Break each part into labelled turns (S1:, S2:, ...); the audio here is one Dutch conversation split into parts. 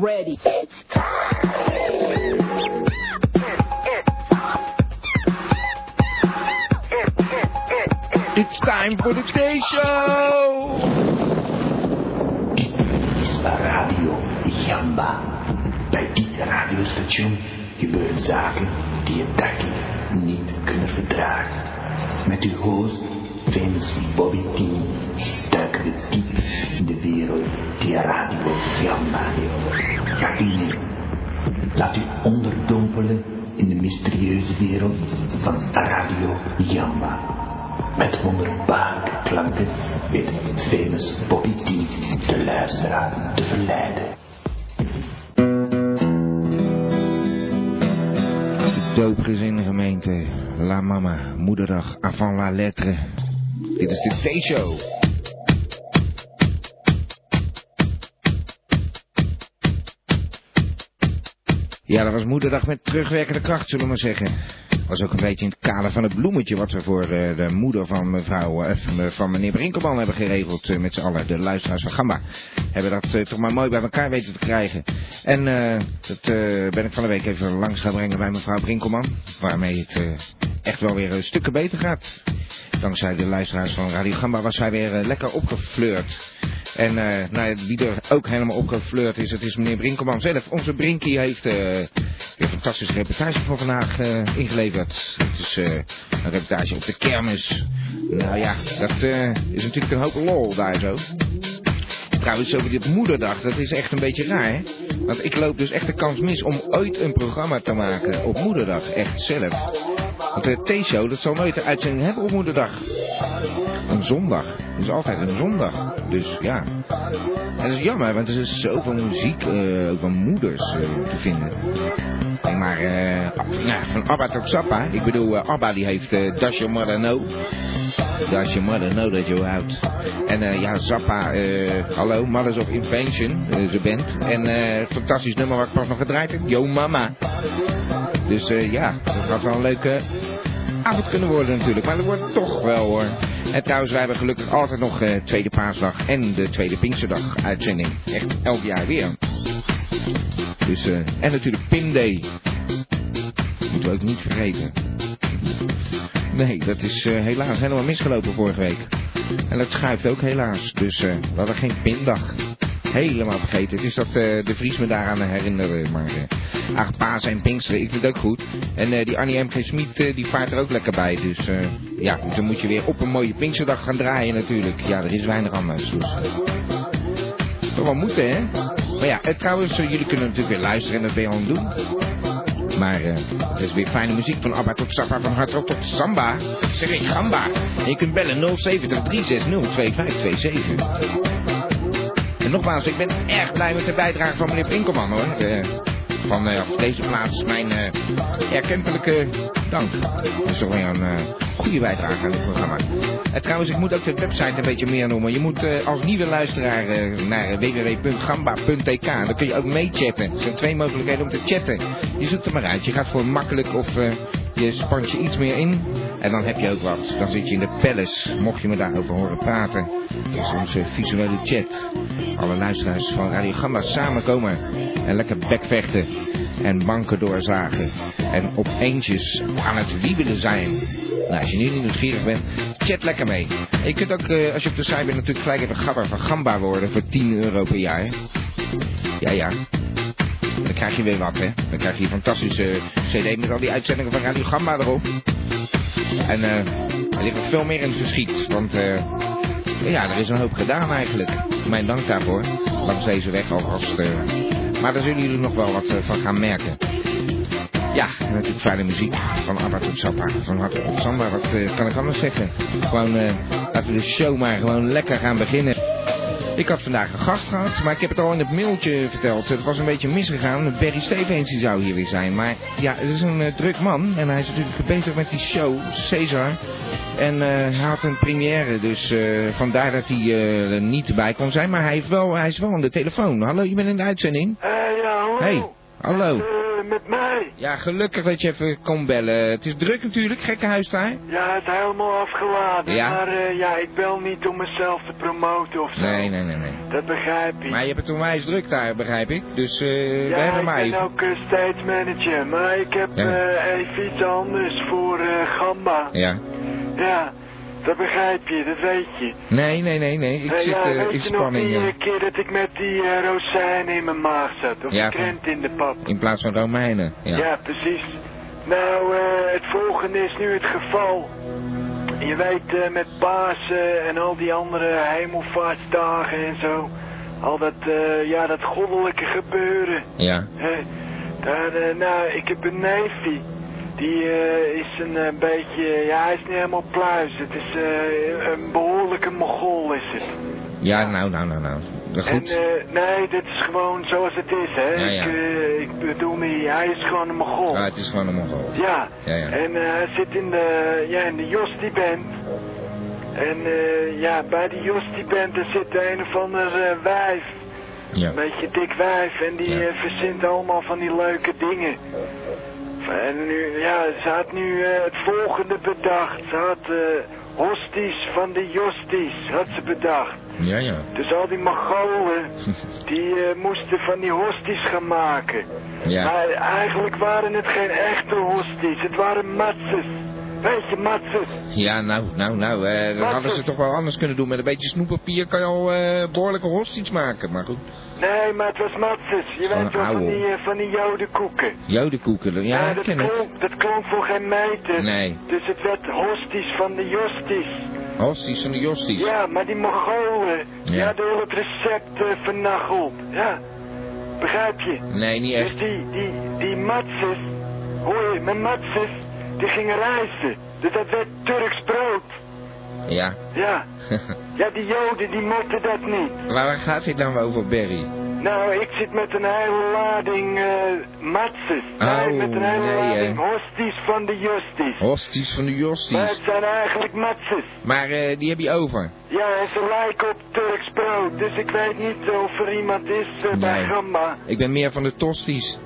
S1: ready. It's time.
S2: It's time for the day show.
S3: is waar Radio Jamba. Bij dit radiostation gebeuren zaken die je dagelijks niet kunnen verdragen. Met uw host, famous Bobby T, duiken we diep in de wereld die Radio Jamba heeft. Ga u mee. Laat u onderdompelen in de mysterieuze wereld van Radio Jamba. Met wonderbaarlijke klanken weet famous Bobby D de luisteraar te verleiden.
S2: Doopgezin gemeente, La Mama, Moederdag, Avant la Lettre. Dit is de day show. Ja, dat was Moederdag met terugwerkende kracht, zullen we maar zeggen. Was ook een beetje in het kader van het bloemetje wat we voor eh, de moeder van mevrouw, eh, van, eh, van meneer Brinkelman hebben geregeld eh, met z'n allen. De luisteraars van Gamba. Hebben dat eh, toch maar mooi bij elkaar weten te krijgen. En eh, dat eh, ben ik van de week even langs gaan brengen bij mevrouw Brinkelman. Waarmee het eh, echt wel weer eh, stukken beter gaat. Dankzij de luisteraars van Radio Gamba was zij weer eh, lekker opgefleurd. En eh, nou ja, wie er ook helemaal opgefleurd is, het is meneer Brinkelman zelf. Onze Brinkie heeft eh, weer een fantastische reportage voor vandaag eh, ingeleverd. Het is eh, een reportage op de kermis. Nou ja, dat eh, is natuurlijk een hoop lol daar zo. Trouwens, over dit moederdag, dat is echt een beetje raar, hè? Want ik loop dus echt de kans mis om ooit een programma te maken op moederdag, echt zelf. Want de T-show, dat zal nooit een uitzending hebben op moederdag. Een zondag. Het is altijd een zondag. Dus ja. En dat is jammer, want er is zoveel muziek eh, ook van moeders eh, te vinden. Kijk maar, eh, nou, van Abba tot Sappa. Ik bedoel, eh, Abba die heeft eh Dash Your Mother Know. Dash Your Mother Know That You Out. En eh, ja, Zappa, eh, hallo, Mothers of Invention, eh, ze band. En eh fantastisch nummer waar ik pas nog gedraaid heb, Yo Mama. Dus eh, ja, dat gaat wel een leuke avond kunnen worden natuurlijk. Maar dat wordt het toch wel hoor. En trouwens, wij hebben gelukkig altijd nog eh, Tweede Paasdag en de Tweede Pinksterdag uitzending. Echt elk jaar weer. Dus, eh, en natuurlijk Pim Day. Moeten we ook niet vergeten. Nee, dat is eh, helaas helemaal misgelopen vorige week. En dat schuift ook helaas. Dus eh, we hadden geen pindag. Helemaal vergeten. Het is dat eh, de Vries me daaraan herinneren. Maar eh ach, Paas en Pinksteren, ik vind het ook goed. En eh, die Annie M. G. Smit, eh, die vaart er ook lekker bij. Dus eh, ja, dus dan moet je weer op een mooie Pinksterdag gaan draaien natuurlijk. Ja, er is weinig anders. Dus. Toch wel moeten, hè? Maar ja, eh, trouwens, eh, jullie kunnen natuurlijk weer luisteren en dat ben je al aan het doen. Maar eh het is weer fijne muziek van Abba tot Sappa, van Hardrock tot Samba. Zeg ik Gamba. En je kunt bellen 070 360 2527. En nogmaals, ik ben erg blij met de bijdrage van meneer Brinkelman hoor. Eh, van eh, op deze plaats mijn eh, erkentelijke dank. Dat is toch weer een eh, goede bijdrage aan dit programma. En trouwens, ik moet ook de website een beetje meer noemen. Je moet eh, als nieuwe luisteraar eh, naar www.gamba.tk. Daar kun je ook mee chatten. Er zijn twee mogelijkheden om te chatten. Je zoekt er maar uit. Je gaat voor makkelijk of eh, je spant je iets meer in. En dan heb je ook wat. Dan zit je in de palace. Mocht je me daarover horen praten. Dat is onze visuele chat. Alle luisteraars van Radio Gamba samenkomen. En lekker bekvechten. En banken doorzagen. En op eentjes aan het wiebelen zijn. Nou, als je nu niet nieuwsgierig bent, chat lekker mee. En je kunt ook, eh, als je op de site bent, natuurlijk gelijk even gabber van Gamba worden voor 10 euro per jaar. Ja, ja. Dan krijg je weer wat, hè? Dan krijg je die fantastische CD met al die uitzendingen van Radio Gamma erop. En eh, er ligt nog veel meer in het verschiet. Want eh, ja, er is een hoop gedaan eigenlijk. Mijn dank daarvoor. Langs deze weg alvast. eh. maar daar zullen jullie nog wel wat eh, van gaan merken. Ja, en natuurlijk fijne muziek. Van Abba tot Sappa, van Hart tot Samba. Wat eh, kan ik anders zeggen? Gewoon, eh, laten we de show maar gewoon lekker gaan beginnen. Ik had vandaag een gast gehad, maar ik heb het al in het mailtje verteld. Het was een beetje misgegaan. Barry Stevens die zou hier weer zijn. Maar ja, het is een eh, druk man. En hij is natuurlijk bezig met die show, Caesar. En eh, hij had een première, dus eh, vandaar dat hij eh, er niet bij kon zijn. Maar hij, heeft wel, hij is wel aan de telefoon. Hallo, je bent in de uitzending?
S4: Eh, ja, hallo.
S2: Hey, hallo.
S4: Eh,
S1: met mij.
S2: Ja, gelukkig dat je even kon bellen. Het is druk natuurlijk, gekke huis daar.
S1: Ja, het helemaal afgeladen.
S2: Ja.
S1: Maar eh, ja, ik bel niet om mezelf te promoten of zo.
S2: Nee, nee, nee, nee.
S1: Dat begrijp ik.
S2: Maar je hebt het onwijs druk daar, begrijp ik. Dus eh we
S1: ja,
S2: hebben
S1: ik
S2: mij.
S1: ben ook eh, stage manager, maar ik heb
S2: Ja.
S1: eh, even iets anders voor eh, Gamba.
S2: Ja.
S1: Ja, dat begrijp je, dat weet je.
S2: Nee, nee, nee, nee. Ik
S1: Eh,
S2: zit
S1: ja,
S2: eh,
S1: weet
S2: in
S1: je nog
S2: spanning.
S1: die
S2: eh,
S1: eh, keer dat ik met die eh, rozijnen in mijn maag zat? Of
S2: Ja,
S1: die krent in de pap?
S2: in plaats van Romeinen. Ja.
S1: Ja, precies. Nou, eh, het volgende is nu het geval. Je weet, eh, met Pasen en al die andere hemelvaartsdagen en zo. Al dat, eh, ja, dat goddelijke gebeuren.
S2: Ja.
S1: hè. Daar, eh, nou, ik heb een neefje. Die eh, is een eh, beetje, ja, hij is niet helemaal pluis. Het is eh, een behoorlijke mogol is het.
S2: Ja, nou, nou, nou, nou. Dat
S1: En
S2: goed.
S1: eh, nee, dit is gewoon zoals het is, hè.
S2: Ja, ja.
S1: Ik, eh, ik bedoel me, hij is gewoon een mogol.
S2: ah, het is gewoon een mongool.
S1: Ja.
S2: Ja, ja.
S1: En eh, hij zit in de, ja, in de Josti Band. En eh, ja, bij die Josti Band er zit een of ander eh, wijf. Een
S2: Ja.
S1: beetje dik wijf. En die
S2: Ja.
S1: eh, verzint allemaal van die leuke dingen. En nu, ja, ze had nu eh, het volgende bedacht. Ze had eh, hosties van de Josties, had ze bedacht.
S2: Ja, ja.
S1: Dus al die Mongolen, die eh, moesten van die hosties gaan maken.
S2: Ja.
S1: Maar eigenlijk waren het geen echte hosties, het waren matses. Weet je, matses.
S2: Ja, nou, nou, nou. eh, dat
S1: Wat
S2: hadden ze
S1: voor-
S2: toch wel anders kunnen doen. Met een beetje snoeppapier kan je al eh, behoorlijke hosties maken. Maar goed.
S1: Nee, maar het was matses. Je
S2: Gewoon
S1: weet wel, van
S2: ouwe.
S1: die, eh, van die jodenkoeken. Eh,
S2: Jodenkoeken. Ja, ik
S1: dat,
S2: ken het.
S1: klonk, dat klonk voor geen meter.
S2: Nee.
S1: Dus het werd hosties van de josties.
S2: Hosties van de Josties.
S1: Ja, maar die Mongolen,
S2: Ja.
S1: ja, door het recept eh, vernacheld. Ja, begrijp je?
S2: Nee, niet
S1: Dus
S2: echt.
S1: die, die, die matses, hoor je, mijn matses, die gingen reizen. Dus dat werd Turks brood.
S2: Ja.
S1: Ja, ja die Joden die mochten dat niet.
S2: Maar waar gaat dit nou over, Barry?
S1: Nou, ik zit met een hele lading eh matses.
S2: Au,
S1: nee, met een hele
S2: Oh, nee, eh. hè.
S1: lading hosties van de justies.
S2: Hosties van de
S1: Maar
S2: Josties.
S1: het zijn eigenlijk matses.
S2: Maar eh, die heb je over.
S1: Ja, en ze lijken op Turks brood. Dus ik weet niet of er iemand is eh, bij
S2: Nee.
S1: Gamma.
S2: Ik ben meer van de Tosties.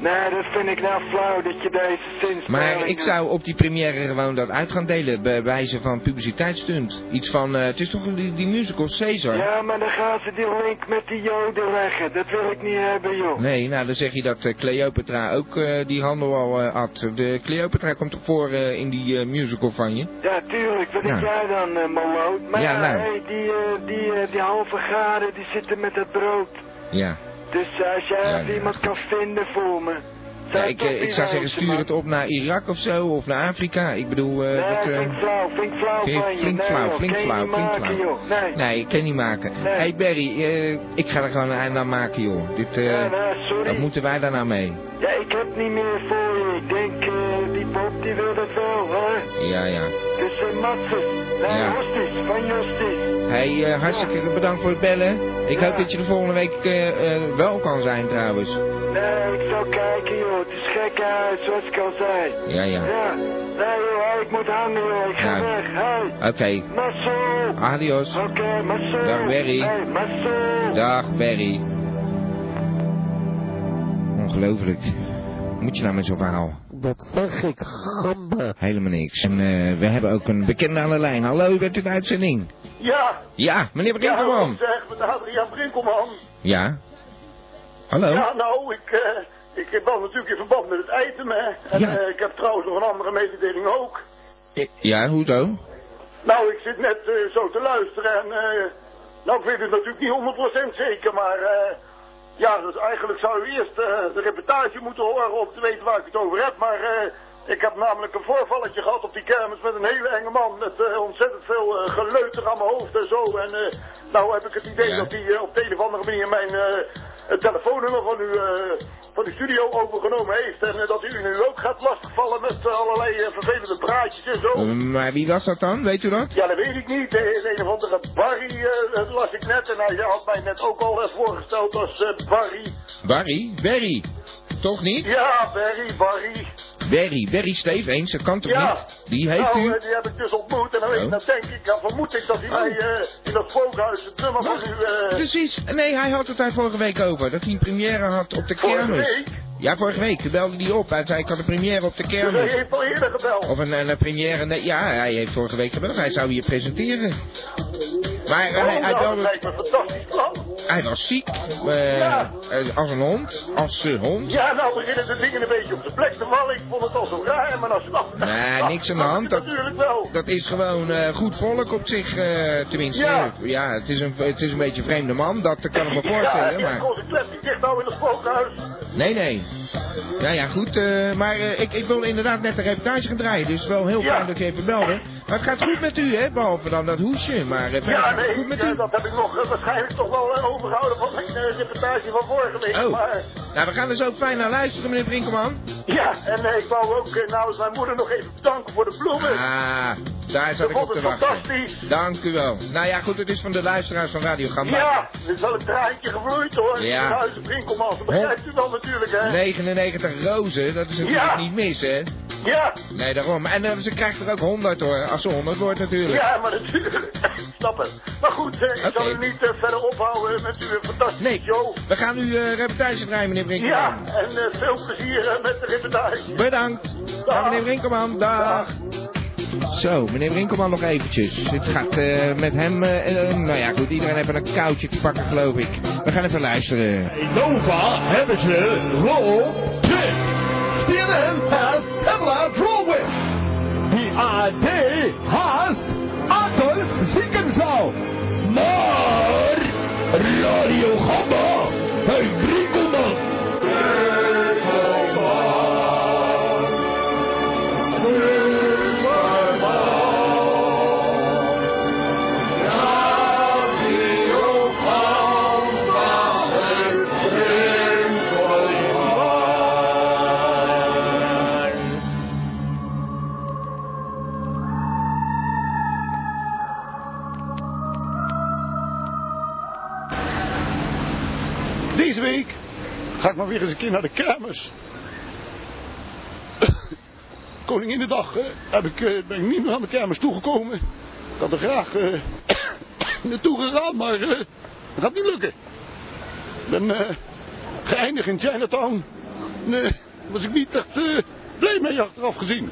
S1: Nee, dat vind ik nou flauw dat je deze zin
S2: Maar ik zou op die première gewoon dat uit gaan delen. Bij wijze van publiciteitsstunt. Iets van, eh, het is toch die, die musical Caesar?
S1: Ja, maar dan gaan ze die link met die joden leggen. Dat wil ik niet hebben, joh.
S2: Nee, nou dan zeg je dat eh, Cleopatra ook eh, die handel al eh, had. De Cleopatra komt toch voor eh, in die eh, musical van je?
S1: Ja, tuurlijk. Wat
S2: Ja.
S1: denk jij dan, eh Malloot?
S2: Nou.
S1: Maar
S2: Ja,
S1: ja,
S2: nou.
S1: hey, die, eh, die, eh, die halve garen, die zitten met dat brood.
S2: Ja.
S1: Dus eh, als jij
S2: Ja,
S1: even
S2: ja,
S1: iemand
S2: goed.
S1: kan vinden voor me...
S2: ja
S1: zou
S2: ik,
S1: toch
S2: eh, ik
S1: die
S2: zou zeggen,
S1: rozen,
S2: stuur
S1: man.
S2: het op naar Irak of zo, of naar Afrika. Ik bedoel, eh,
S1: Nee,
S2: dat... eh,
S1: flink flauw, flink flauw
S2: vind je
S1: van je.
S2: flink
S1: nee,
S2: flauw,
S1: joh,
S2: flink
S1: kan je
S2: flauw,
S1: niet
S2: flink
S1: maken,
S2: flauw.
S1: joh. Nee.
S2: Nee, ik kan niet maken. Hé
S1: Nee.
S2: hey Barry, eh, ik ga er gewoon een eind aan maken, joh. Dit, eh,
S1: Ja, nou, sorry.
S2: Wat moeten wij daar nou mee?
S1: Ja, ik heb niet meer voor je. Ik denk, eh, die Bob die wil dat wel, hè?
S2: Ja, ja.
S1: Dus zijn Matses, nee,
S2: Ja.
S1: Hosties, van Justies.
S2: Hey, eh, hartstikke bedankt voor het bellen. Ik
S1: Ja.
S2: hoop dat je de volgende week eh, eh, wel kan zijn, trouwens.
S1: Nee, ik zal kijken, joh. Het is gek huis, zoals ik al zei.
S2: Ja, ja.
S1: Ja. Nee, joh, hey, ik moet hangen, joh. Ik ga
S2: Ja.
S1: weg. Hey,
S2: Oké,
S1: Marcel.
S2: adios.
S1: Oké, Marcel.
S2: Dag, Berry.
S1: Hey, Marcel.
S2: Dag Barry. Ongelooflijk. Moet je nou met zo'n verhaal?
S4: Dat zeg ik, gamba.
S2: Helemaal niks. En eh, we hebben ook een bekende aan de lijn. Hallo, u bent in de uitzending.
S5: Ja,
S2: Ja, meneer Brinkelman.
S5: Ja, zeg, met Adriaan Brinkelman.
S2: Ja. Hallo?
S5: Ja, nou, ik, eh, ik ben natuurlijk in verband met het item, hè. En
S2: Ja.
S5: eh, ik heb trouwens nog een andere mededeling ook.
S2: Ja, hoezo?
S5: Nou, ik zit net eh, zo te luisteren en... eh, nou, ik weet het natuurlijk niet 100% zeker, maar... eh, ja, dus eigenlijk zou u eerst eh, de reportage moeten horen om te weten waar ik het over heb, maar... eh, ik heb namelijk een voorvalletje gehad op die kermis met een hele enge man met eh, ontzettend veel eh, geleuter aan mijn hoofd en zo. En eh, nou heb ik het idee
S2: Ja.
S5: dat hij eh, op de een of andere manier mijn eh, het telefoonnummer van uw, eh, van uw studio overgenomen heeft. En eh, dat u nu ook gaat lastigvallen met eh, allerlei eh, vervelende praatjes en zo.
S2: Eh, maar wie was dat dan? Weet u dat?
S5: Ja, dat weet ik niet. De, de een of andere Barry eh, dat las ik net en hij had mij net ook al eh, voorgesteld als eh, Barry.
S2: Barry? Barry. Toch niet?
S5: Ja, Barry, Barry.
S2: Barry, Barry Steef eens, dat kan toch
S5: Ja.
S2: niet? Die heeft
S6: Oh,
S5: nou,
S2: u.
S5: eh, die heb ik dus ontmoet en dan,
S2: Oh.
S5: weet, dan denk ik, dan vermoed ik dat hij
S2: Oh.
S5: mij eh, in dat spookhuis het nummer van u... eh
S2: Precies. Nee, hij had het daar vorige week over. Dat hij een première had op de
S5: vorige
S2: kermis.
S5: week...
S2: Ja, vorige week belde die op. Hij zei, ik had een première op de
S6: Dus hij
S2: kermis.
S6: heeft al eerder gebeld.
S2: Of een, een, een première... nee, ja, hij heeft vorige week gebeld. Hij zou hier presenteren. Maar
S5: Oh,
S2: eh, hij,
S6: Waarom
S2: hij
S6: nou? Dat
S2: belde...
S6: lijkt me een fantastisch plan.
S2: Hij was ziek. eh,
S6: Ja.
S2: eh, Als een hond. Als een hond.
S6: Ja, nou beginnen de dingen een beetje op de plek te vallen. Ik vond het al zo raar, maar als je dat...
S2: Nee, niks aan de hand.
S6: Dat
S2: Dat-
S6: is natuurlijk wel.
S2: Dat is gewoon eh, goed volk op zich, eh, tenminste.
S6: Ja.
S2: het, is een, het is een beetje een vreemde man, dat kan ik me
S6: ja,
S2: voorstellen.
S6: die
S2: maar...
S6: consequent. Die ligt nou in het spookhuis.
S2: Nee, nee. Nou ja, goed. eh, maar eh, ik, ik wil inderdaad net een reportage gaan draaien. Dus wel heel
S6: Ja.
S2: fijn dat u even belde. Maar het gaat goed met u, hè? Behalve dan dat hoesje. Maar eh, verder
S6: Ja,
S2: gaat het
S6: nee,
S2: goed met
S6: eh,
S2: u.
S6: dat heb ik nog eh, waarschijnlijk toch wel eh, overgehouden van mijn eh, reportage van vorige week.
S2: Oh.
S6: Maar
S2: Nou, we gaan er zo fijn naar luisteren, meneer Brinkelman.
S6: ja, en eh, ik wou ook eh, namens mijn moeder nog even bedanken voor de bloemen.
S2: Ah, daar zat
S6: Dat
S2: ik op
S6: vond
S2: te
S6: het
S2: wachten.
S6: fantastisch.
S2: Dank u wel. Nou ja, goed, het is van de luisteraars van Radio Gamba.
S6: Ja, er is wel een traantje gevloeid hoor. Nou,
S2: Ja.
S6: In huis Brinkelman, dat begrijpt u wel natuurlijk hè.
S2: 99 rozen, dat is natuurlijk
S6: Ja.
S2: niet mis, hè?
S6: Ja,
S2: Nee, daarom. En eh, ze krijgt er ook 100 hoor, als ze 100 wordt natuurlijk.
S6: ja, maar natuurlijk. Ik Snap het. Maar goed, eh, ik zal
S2: Oké.
S6: u niet eh, verder ophouden met uw eh, fantastische
S2: Nee,
S6: show.
S2: we gaan nu eh reportage draaien, meneer Brinkelman.
S6: Ja, en eh, veel plezier eh, met de reportage.
S2: Bedankt. Dag, meneer Brinkelman. Dag. Zo, meneer Brinkelman nog eventjes. Het gaat eh, met hem... eh, eh, nou ja, goed, iedereen heeft een koudje te pakken, geloof ik. We gaan even luisteren.
S7: Nova hebben ze roll trip. CNN has Pamela Drolwich. The AD has Adolf Ziekenzauw. Maar Radio Gamma, hey Brinkelman.
S6: Deze week ga ik maar weer eens een keer naar de kermis. Koninginnedag eh, heb ik, eh, ben ik niet meer aan de kermis toegekomen. Ik had er graag eh, naartoe gegaan, maar eh, dat gaat niet lukken. Ik ben eh, geëindigd in Chinatown. Nee, was ik niet echt eh, blij mee achteraf gezien.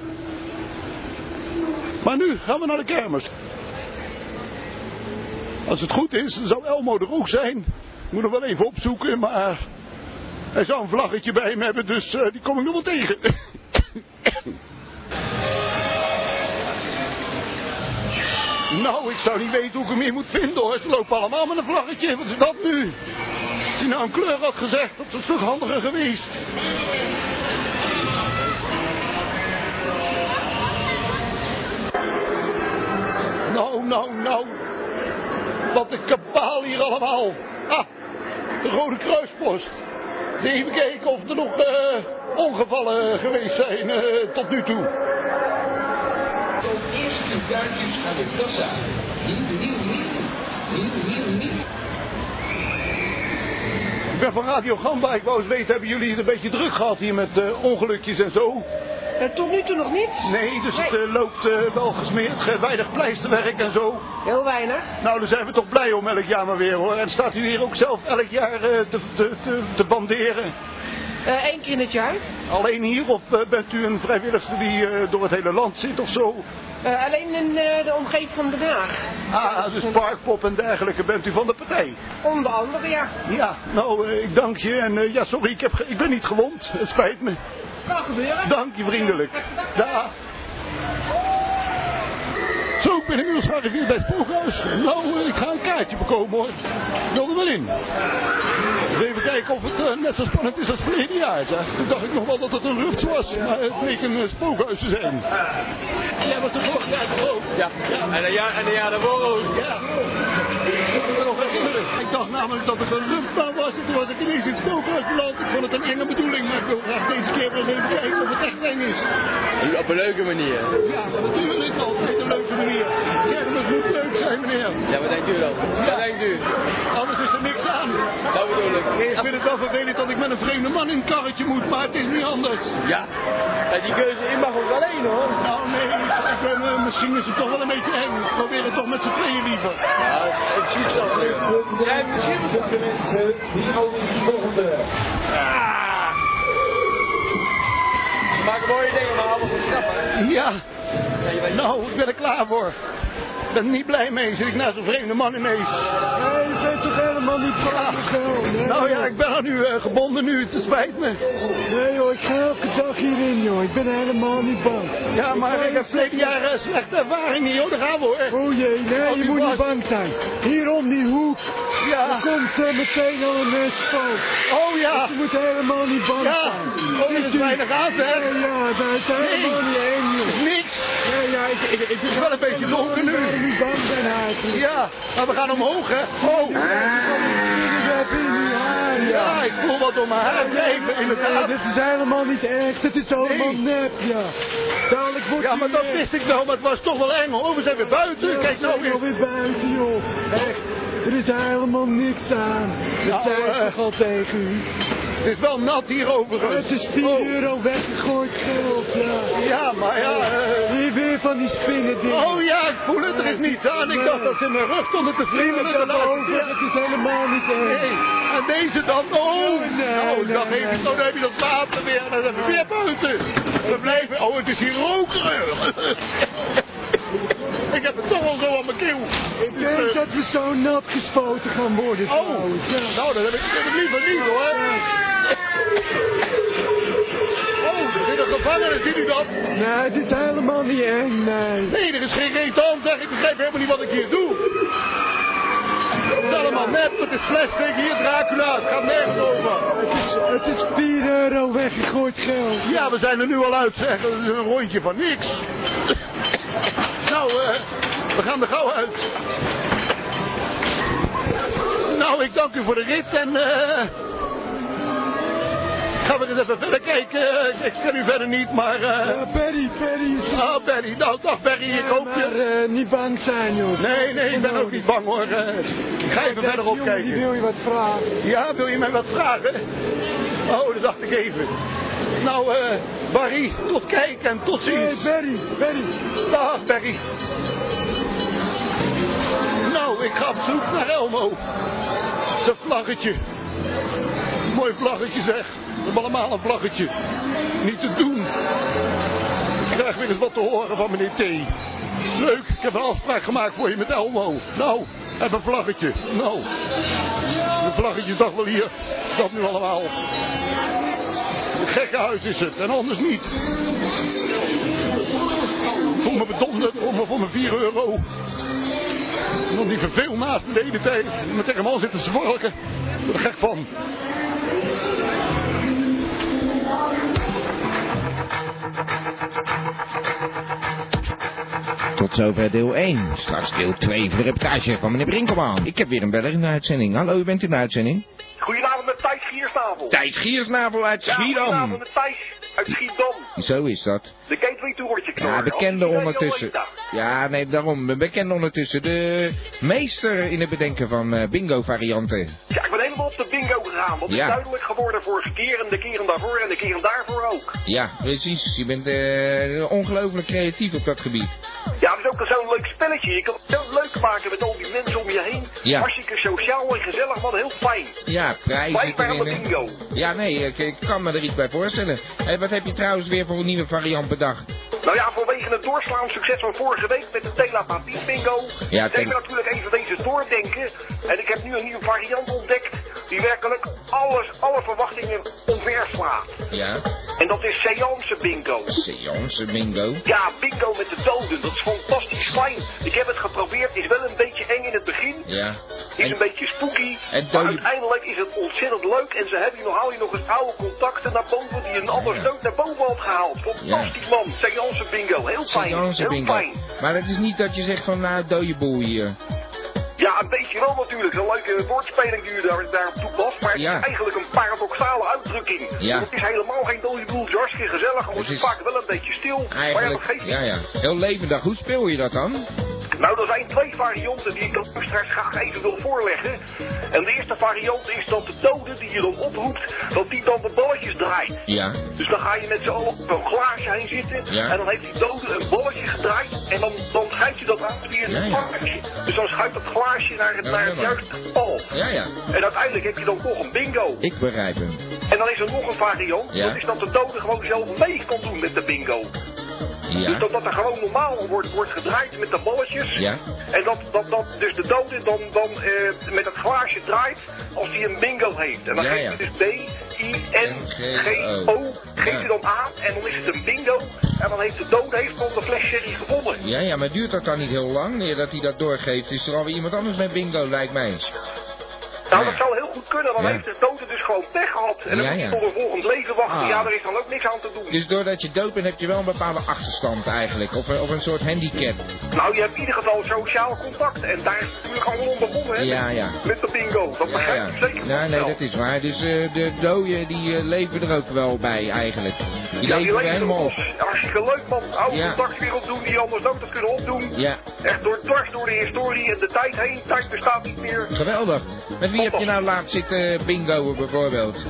S6: Maar nu gaan we naar de kermis. Als het goed is, zou Elmo er ook zijn. Ik moet nog wel even opzoeken, maar hij zou een vlaggetje bij hem hebben, dus eh, die kom ik nog wel tegen. nou, ik zou niet weten hoe ik hem hier moet vinden hoor. Ze lopen allemaal met een vlaggetje. Wat is dat nu? Als hij nou een kleur had gezegd, dat is een stuk handiger geweest. Nou, nou, nou. Wat een kabaal hier allemaal. Ah, de Rode Kruispost. Even kijken of er nog eh, ongevallen geweest zijn eh, tot nu toe.
S8: Eerst de duikjes aan de kassa. Nieuw, nieuw, nieuw. Nieuw, nieuw, nieuw.
S6: Ik ben van Radio Gamba. Ik wou eens weten, hebben jullie het een beetje druk gehad hier met eh, ongelukjes en zo?
S9: tot nu toe nog niet.
S6: Nee, dus het eh, loopt eh, wel gesmeerd. Ge- Weinig pleisterwerk en zo.
S9: Heel weinig.
S6: Nou, daar zijn we toch blij om elk jaar maar weer hoor. En staat u hier ook zelf elk jaar eh, te, te, te, te banderen?
S9: Eén Eh, keer in het jaar.
S6: Alleen hier of eh, bent u een vrijwilligster die eh, door het hele land zit of zo?
S9: Eh, alleen in eh, de omgeving van Den Haag.
S6: Ah, dus Parkpop en dergelijke bent u van de partij?
S9: Onder andere, ja.
S6: Ja, nou, eh, ik dank je. En eh, ja, sorry, ik, heb ge- ik ben niet gewond. Het spijt me.
S9: Kan gebeuren.
S6: Dank je vriendelijk. Dag. Zo, ik ben inmiddels gearriveerd bij het spookhuis. Nou, eh, ik ga een kaartje bekomen hoor. Ik wil er wel in. Dus even kijken of het eh, net zo spannend is als verleden jaar. Zeg. Toen dacht ik nog wel dat het een rups was, maar het bleek een eh, spookhuis te zijn. Jij was er vorig jaar ook?
S8: Oh,
S6: Ja. En een jaar, en een jaar daarvoor ook. Ja. Ik kan me nog herinneren. Ik dacht namelijk dat het een rumpbaan was en toen was ik ineens in het spookhuis beland. Ik vond het een enge bedoeling, maar ik wil graag deze keer wel eens even kijken of het echt eng is.
S7: Op een leuke manier.
S6: Ja, natuurlijk altijd een leuke manier. Kermis moet leuk zijn, meneer.
S7: Ja, wat denkt u dan? Wat denkt u?
S6: Anders is er niks aan.
S7: Dat bedoel ik.
S6: Ik vind het wel vervelend dat ik met een vreemde man in een karretje moet, maar het is niet anders.
S7: Ja. ja die keuze, u mag ook wel één hoor.
S6: Nou nee, ik ben, eh, misschien is het toch wel een beetje eng. Ik probeer het toch met z'n tweeën liever.
S7: Ja, ik zie het zo. Jij hebt misschien
S6: Ah,
S10: Ze maken mooie dingen, maar allemaal goed knap, hè?
S6: Ja,
S10: Ja, je weet-
S6: nou, ik ben er klaar voor. Ik ben er niet blij mee, zit ik naast een vreemde man ineens. Ah.
S7: Nee, je bent toch helemaal niet verlaten. Nee,
S6: Nou ja, ik ben aan u eh, gebonden nu, het spijt me.
S7: nee joh, ik ga elke dag hierin joh. Ik ben helemaal niet bang.
S6: Ja, maar ik heb verleden jaar eh, slechte ervaring hier, hoor, daar gaan we hoor.
S7: O jee, nee,
S6: Oh,
S7: je
S6: die
S7: moet niet
S6: was-
S7: bang zijn. Hier om die hoek
S6: Ja,
S7: komt eh, meteen al een mesval.
S6: oh ja,
S7: Je moet helemaal niet bang
S6: ja.
S7: zijn.
S6: Oh, er is weinig aan, hè.
S7: Nee, ja, daar is helemaal niet één
S6: is
S7: joh.
S6: niks.
S7: Nee, ja, ik, ik, ik
S6: Het is wel een beetje donker
S7: Ik ben
S6: nu.
S7: niet bang zijn eigenlijk.
S6: Ja, maar we gaan omhoog, hè. Oh,
S7: Ik heb in die haren.
S6: ja, ik voel wat om mijn haar drijven,
S7: Nee,
S6: inderdaad.
S7: dit is helemaal niet echt. Het is allemaal
S6: Nee.
S7: nep, ja. Dadelijk wordt
S6: Ja,
S7: u
S6: maar dat
S7: weer-
S6: wist ik wel, maar het was toch wel eng, hoor. We zijn weer buiten,
S7: Ja,
S6: kijk
S7: we zijn
S6: nou weer.
S7: alweer buiten, joh. Echt, er is helemaal niks aan.
S6: Nou,
S7: Dat zei ik
S6: eh.
S7: toch al tegen u.
S6: Het is wel nat hier
S7: Het
S6: overigens.
S7: is 10
S6: Oh.
S7: euro weggegooid geld, ja. Oh.
S6: Ja, maar ja, eh,
S7: Weer, weer van die spinnen dingen.
S6: Oh ja, ik voel het, er is niets aan. Ik dacht dat ze in mijn rug stonden te vliegen.
S7: Niemand daarover, het is helemaal niet echt.
S6: Nee, en deze dan? Oh,
S7: Nee, nee,
S6: nou, dan,
S7: nee,
S6: heeft,
S7: nee.
S6: dan heb je dat water weer. Dan zijn we weer buiten. We blijven... Oh, het is hier rokerig. Ik heb het toch al zo aan mijn keel.
S7: Ik denk dat we zo nat gespoten gaan worden.
S6: eh. Oh,
S7: trouwens, ja.
S6: nou, dat heb ik, dat heb ik liever niet, hoor. Oh, er zit een gevangene, ziet u dat?
S7: Nee, dit is helemaal niet eng, nee.
S6: Nee, er is geen reet aan, zeg. Ik begrijp helemaal niet wat ik hier doe. Het is allemaal net met het flesding hier, Dracula. Het gaat nergens over.
S7: Het is, het is 4 euro weggegooid geld.
S6: Ja, we zijn er nu al uit, zeg. Dat is een rondje van niks. Nou, eh, we gaan er gauw uit. Nou, ik dank u voor de rit en... eh gaan we eens even verder kijken. Eh, Ik ken u verder niet, maar... eh
S7: Ja, Perry, Perry is...
S6: ah, Berry. Nou, dag Berry, ik hoop
S7: Maar,
S6: je...
S7: eh, niet bang zijn, joh.
S6: Nee, nee, ik ben ook niet bang, hoor. Eh, ik ga even verder
S7: Deze jongen, Die
S6: opkijken.
S7: wil je wat vragen.
S6: Ja, wil je mij wat vragen? Oh, dat dacht ik even. Nou, eh, Barry, tot kijk en tot
S7: Hey,
S6: ziens.
S7: Perry, Perry.
S6: Dag, Barry. Nou, ik ga op zoek naar Elmo. Zijn vlaggetje. Mooi vlaggetje zeg. We hebben allemaal een vlaggetje. Niet te doen. Ik krijg weer eens wat te horen van meneer T. Leuk, ik heb een afspraak gemaakt voor je met Elmo. Nou, heb een vlaggetje. Nou, de vlaggetjes dag wel hier. Dat nu allemaal. Een gekke huis is het en anders niet. Ik voel me bedonderd, om me voor mijn 4 euro. En dan die verveel naast me de hele tijd. Me tegen hem al zitten zworken. Ik word er gek van.
S2: Ah, Tot zover deel 1. Straks deel 2 voor de reportage van meneer Brinkelman. Ik heb weer een beller in de uitzending. Hallo, u bent in de uitzending?
S9: Goedenavond met Thijs Giersnavel.
S2: Thijs Giersnavel uit
S9: goedenavond
S2: Schiedam.
S9: met Thijs uit Schiedam.
S2: Zo is dat.
S9: De Gateway Toertje knor.
S2: Ja, bekende
S9: Als je Oh,
S2: ondertussen.
S9: dat
S2: Ja, nee, daarom. Bekende ondertussen. De meester in het bedenken van eh, bingo-varianten.
S9: weet. Ja, ik ben helemaal op de bingo gegaan. Want het
S2: Ja.
S9: is duidelijk geworden vorige keer en de keren daarvoor en de keren daarvoor ook.
S2: Ja, precies. Je bent eh, ongelooflijk creatief op dat gebied.
S9: Ja, dat is ook zo'n leuk spelletje. Je kan het zo leuk maken met al die mensen om je heen.
S2: Ja.
S9: Hartstikke sociaal en gezellig, man. Heel fijn.
S2: Ja,
S9: Blijf
S2: prijzen
S9: bij aan de
S2: erin.
S9: bingo.
S2: Ja, nee, ik, ik kan me er iets bij voorstellen. Hé, wat heb je trouwens weer voor een nieuwe variant bedacht?
S9: Nou ja, vanwege het doorslaand succes van vorige week met de telepathie bingo.
S2: Ja,
S9: ik denk
S2: tele-
S9: natuurlijk even deze doordenken. En ik heb nu een nieuwe variant ontdekt die werkelijk alles, alle verwachtingen omverslaat.
S2: Ja,
S9: En dat is Seance bingo.
S2: seance bingo.
S9: Ja, bingo met de doden. Dat is fantastisch fijn. Ik heb het geprobeerd. Is wel een beetje eng in het begin.
S2: Ja.
S9: Is een
S2: En,
S9: beetje spooky.
S2: en
S9: Maar
S2: doden-
S9: uiteindelijk is het ontzettend leuk. En ze hebben je nog, haal je nog eens oude contacten naar boven die een ander
S2: ja.
S9: dood naar boven had gehaald. Fantastisch man. Seance bingo. Heel fijn.
S2: seance
S9: Heel
S2: bingo.
S9: fijn.
S2: Maar het is niet dat je zegt van, nou, dode boel hier.
S9: Ja, een beetje wel natuurlijk. Een leuke woordspeling die u daar, daar toe was. Maar het
S2: Ja.
S9: is eigenlijk een paradoxale uitdrukking.
S2: Ja.
S9: Het is helemaal geen dode boel. Het is hartstikke gezellig. Het wordt
S2: is
S9: vaak wel een beetje stil. Maar ja, dat
S2: Eigenlijk,
S9: geeft niet.
S2: ja, ja. Heel levendig. Hoe speel je dat dan?
S9: Nou, er zijn twee varianten die ik dan straks graag even wil voorleggen. En de eerste variant is dat de dode die je dan oproept, dat die dan de balletjes draait.
S2: Ja.
S9: Dus dan ga je met z'n allen op een glaasje heen zitten.
S2: Ja.
S9: En dan heeft die dode een balletje gedraaid. En dan, dan schuift je dat uit weer in
S2: Ja,
S9: een
S2: ja.
S9: vlammetje. Dus dan schuift dat glaasje naar het,
S2: Ja,
S9: naar het
S2: helemaal.
S9: juiste getal.
S2: Ja, ja.
S9: En uiteindelijk heb je dan toch een bingo.
S2: Ik begrijp hem.
S9: En dan is er nog een variant.
S2: Ja.
S9: Dat is dat de dode gewoon zelf mee kan doen met de bingo. Dus
S2: Ja.
S9: dat, dat er gewoon normaal wordt, wordt gedraaid met de balletjes.
S2: Ja.
S9: En dat, dat, dat dus de dode dan, dan eh, met het glaasje draait als hij een bingo heeft. En dan
S2: Ja,
S9: geeft
S2: ja.
S9: hij dus B, I, N, G, O. Geeft hij dan aan en dan is het een bingo. En dan heeft de dode heeft dan de fles sherry gewonnen.
S2: Ja, ja, maar duurt dat dan niet heel lang? Nee, dat hij dat doorgeeft, is er alweer iemand anders met bingo, lijkt mij eens.
S9: Nou, dat zou heel goed kunnen. Dan
S2: Ja.
S9: heeft de dode dus gewoon pech gehad. En dan
S2: Ja,
S9: moet
S2: ja.
S9: hij tot een volgend leven wachten.
S2: Ah.
S9: Ja, daar is dan ook niks aan te doen.
S2: Dus doordat je dood bent, heb je wel een bepaalde achterstand eigenlijk. Of, een- of een soort handicap.
S9: Nou, je hebt in ieder geval sociaal contact. En daar is het natuurlijk allemaal onder gewonnen, hè?
S2: Ja, ja.
S9: Met de bingo. Dat
S2: Ja,
S9: begrijp
S2: ja.
S9: ik zeker.
S2: Nee, nee, dat is waar. Dus eh, de doden die eh, leven er ook wel bij eigenlijk. Die
S9: ja, die
S2: leven er
S9: leven
S2: helemaal op.
S9: los. Hartstikke leuk, man. Oude
S2: Ja.
S9: contact weer opdoen die anders ook dat kunnen opdoen.
S2: Ja.
S9: Echt door dwars door de historie en de tijd heen. Tijd bestaat niet meer.
S2: Geweldig. Met wie heb je nou laatst zitten bingoen bijvoorbeeld?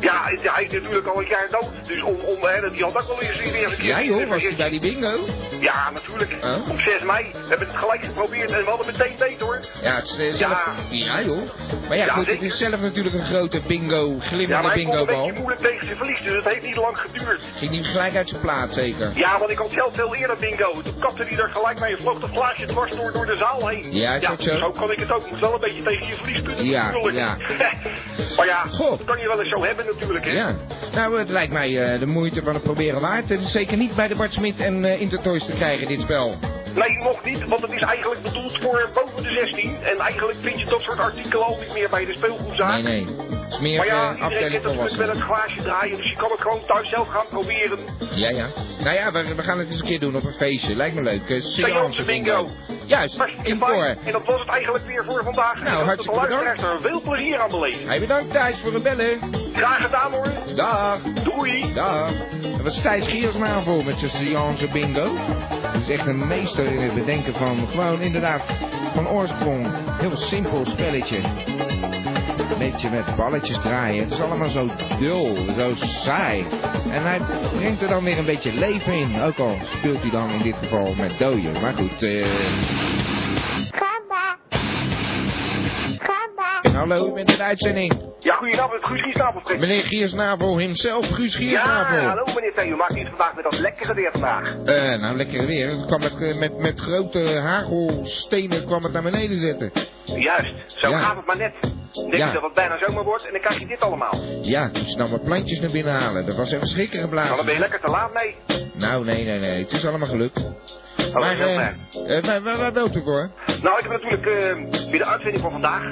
S9: Ja, hij- hij is natuurlijk al een jaar dood. Dus om, om hè, die had ook wel eens weer een keer...
S2: Jij hoor, was je bij die bingo?
S9: Ja, natuurlijk.
S2: Oh.
S9: Op 6 mei hebben we het gelijk geprobeerd en we hadden meteen beter hoor.
S2: Ja, het is eh, zelf... Ja, joh. Maar ja,
S9: Ja,
S2: goed, het
S9: zeker.
S2: is zelf natuurlijk een grote bingo,
S9: ja,
S2: glimmende
S9: maar hij kon een
S2: bingobal.
S9: beetje moeilijk tegen zijn verlies, dus het heeft niet lang geduurd.
S2: Ging die gelijk uit zijn plaat zeker?
S9: Ja, want ik had zelf veel eerder bingo. Toen kapte hij er gelijk mee en vloog dat glaasje dwars door, door de zaal heen.
S2: Ja, is dat zo?
S9: dus kan ik het ook. Moet wel een beetje tegen je verlies kunnen.
S2: Ja,
S9: natuurlijk.
S2: ja.
S9: maar ja, dat kan je wel eens zo hebben natuurlijk. Hè?
S2: Ja. Nou, het lijkt mij eh, de moeite van het proberen waard. Het is zeker niet bij de Bart Smit en eh, Intertoys te krijgen, dit spel.
S9: Nee, nog niet, want het is eigenlijk bedoeld voor boven de 16. En eigenlijk vind je dat soort artikelen al niet meer bij de speelgoedzaak.
S2: Nee, nee. Het is meer
S9: maar ja,
S2: eh,
S9: iedereen
S2: afdeling
S9: kent natuurlijk wel
S2: volwassenen.
S9: het glaasje draaien, dus je kan het gewoon thuis zelf gaan proberen.
S2: Ja, ja. Nou ja, we, we gaan het eens een keer doen op een feestje. Lijkt me leuk. Uh,
S9: Seance bingo.
S2: Juist, in voor.
S9: En dat was het eigenlijk weer voor vandaag.
S2: Nou, hartstikke
S9: bedankt. Dat de luisteraars er veel plezier aan beleven.
S2: Hey, bedankt Thijs voor het bellen.
S9: Graag gedaan hoor.
S2: Dag.
S9: Doei.
S2: Dag. Eh, Dat was Thijs Giersma voor met zijn Seance bingo. Dat is echt een meester in het bedenken van gewoon inderdaad van oorsprong. Heel simpel spelletje. Een beetje met balletjes draaien. Het is allemaal zo dul, zo saai. En hij brengt er dan weer een beetje leven in. Ook al speelt hij dan in dit geval met doden. Maar goed, eh... Hallo, u bent in de uitzending.
S9: Ja, goedenavond, Guus Giesnavel spreekt.
S2: Meneer Giersnavel himself, Guus Giersnavel.
S9: Ja, hallo meneer Theo, maakt u het vandaag met dat lekkere weer vandaag?
S2: Eh, nou, lekker weer. Het kwam met, eh, met, met grote hagelstenen kwam het naar beneden zetten.
S9: Juist, zo
S2: Ja.
S9: gaat het maar net. Denk
S2: Ja.
S9: je dat het bijna zomer wordt en dan krijg je dit allemaal.
S2: Ja, toen ze nou wat plantjes naar binnen halen. Dat was even schrikken
S9: Maar
S2: geblazen.
S9: Nou, dan ben je lekker te laat mee.
S2: Nou, nee, nee, nee. Het is allemaal gelukt. maar,
S9: heel
S2: eh,
S9: fijn.
S2: eh, waar, waar, waar belt u voor?
S9: Nou, ik heb natuurlijk eh, weer de uitzending van vandaag.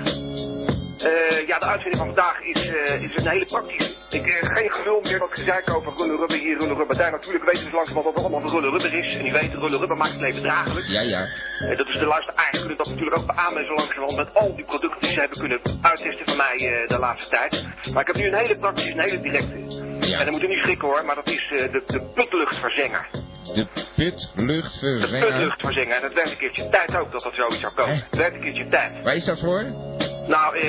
S9: Eh, ja, de uitzending van vandaag is, eh, is een hele praktische. Ik eh, geen gelul meer dat gezeik over runnen rubber hier, runnen rubber daar. Natuurlijk weten ze langzamerhand dat het allemaal van runnen rubber is. En die weten, runnen rubber maakt het leven draaglijk.
S2: Ja, ja.
S9: Eh, dat is de luisteraar kunnen dat natuurlijk ook beamen zo langzamerhand met al die producten die ze hebben kunnen uittesten van mij eh, de laatste tijd. Maar ik heb nu een hele praktische, een hele directe. En dan moet u niet schrikken hoor, maar dat is eh, de, de putluchtverzenger.
S2: De eh, putluchtverzenger.
S9: Putluchtverzenger, en dat werd een keertje tijd ook dat dat zoiets zou komen. Het werd een keertje tijd.
S2: Waar is dat voor?
S9: Nou, eh,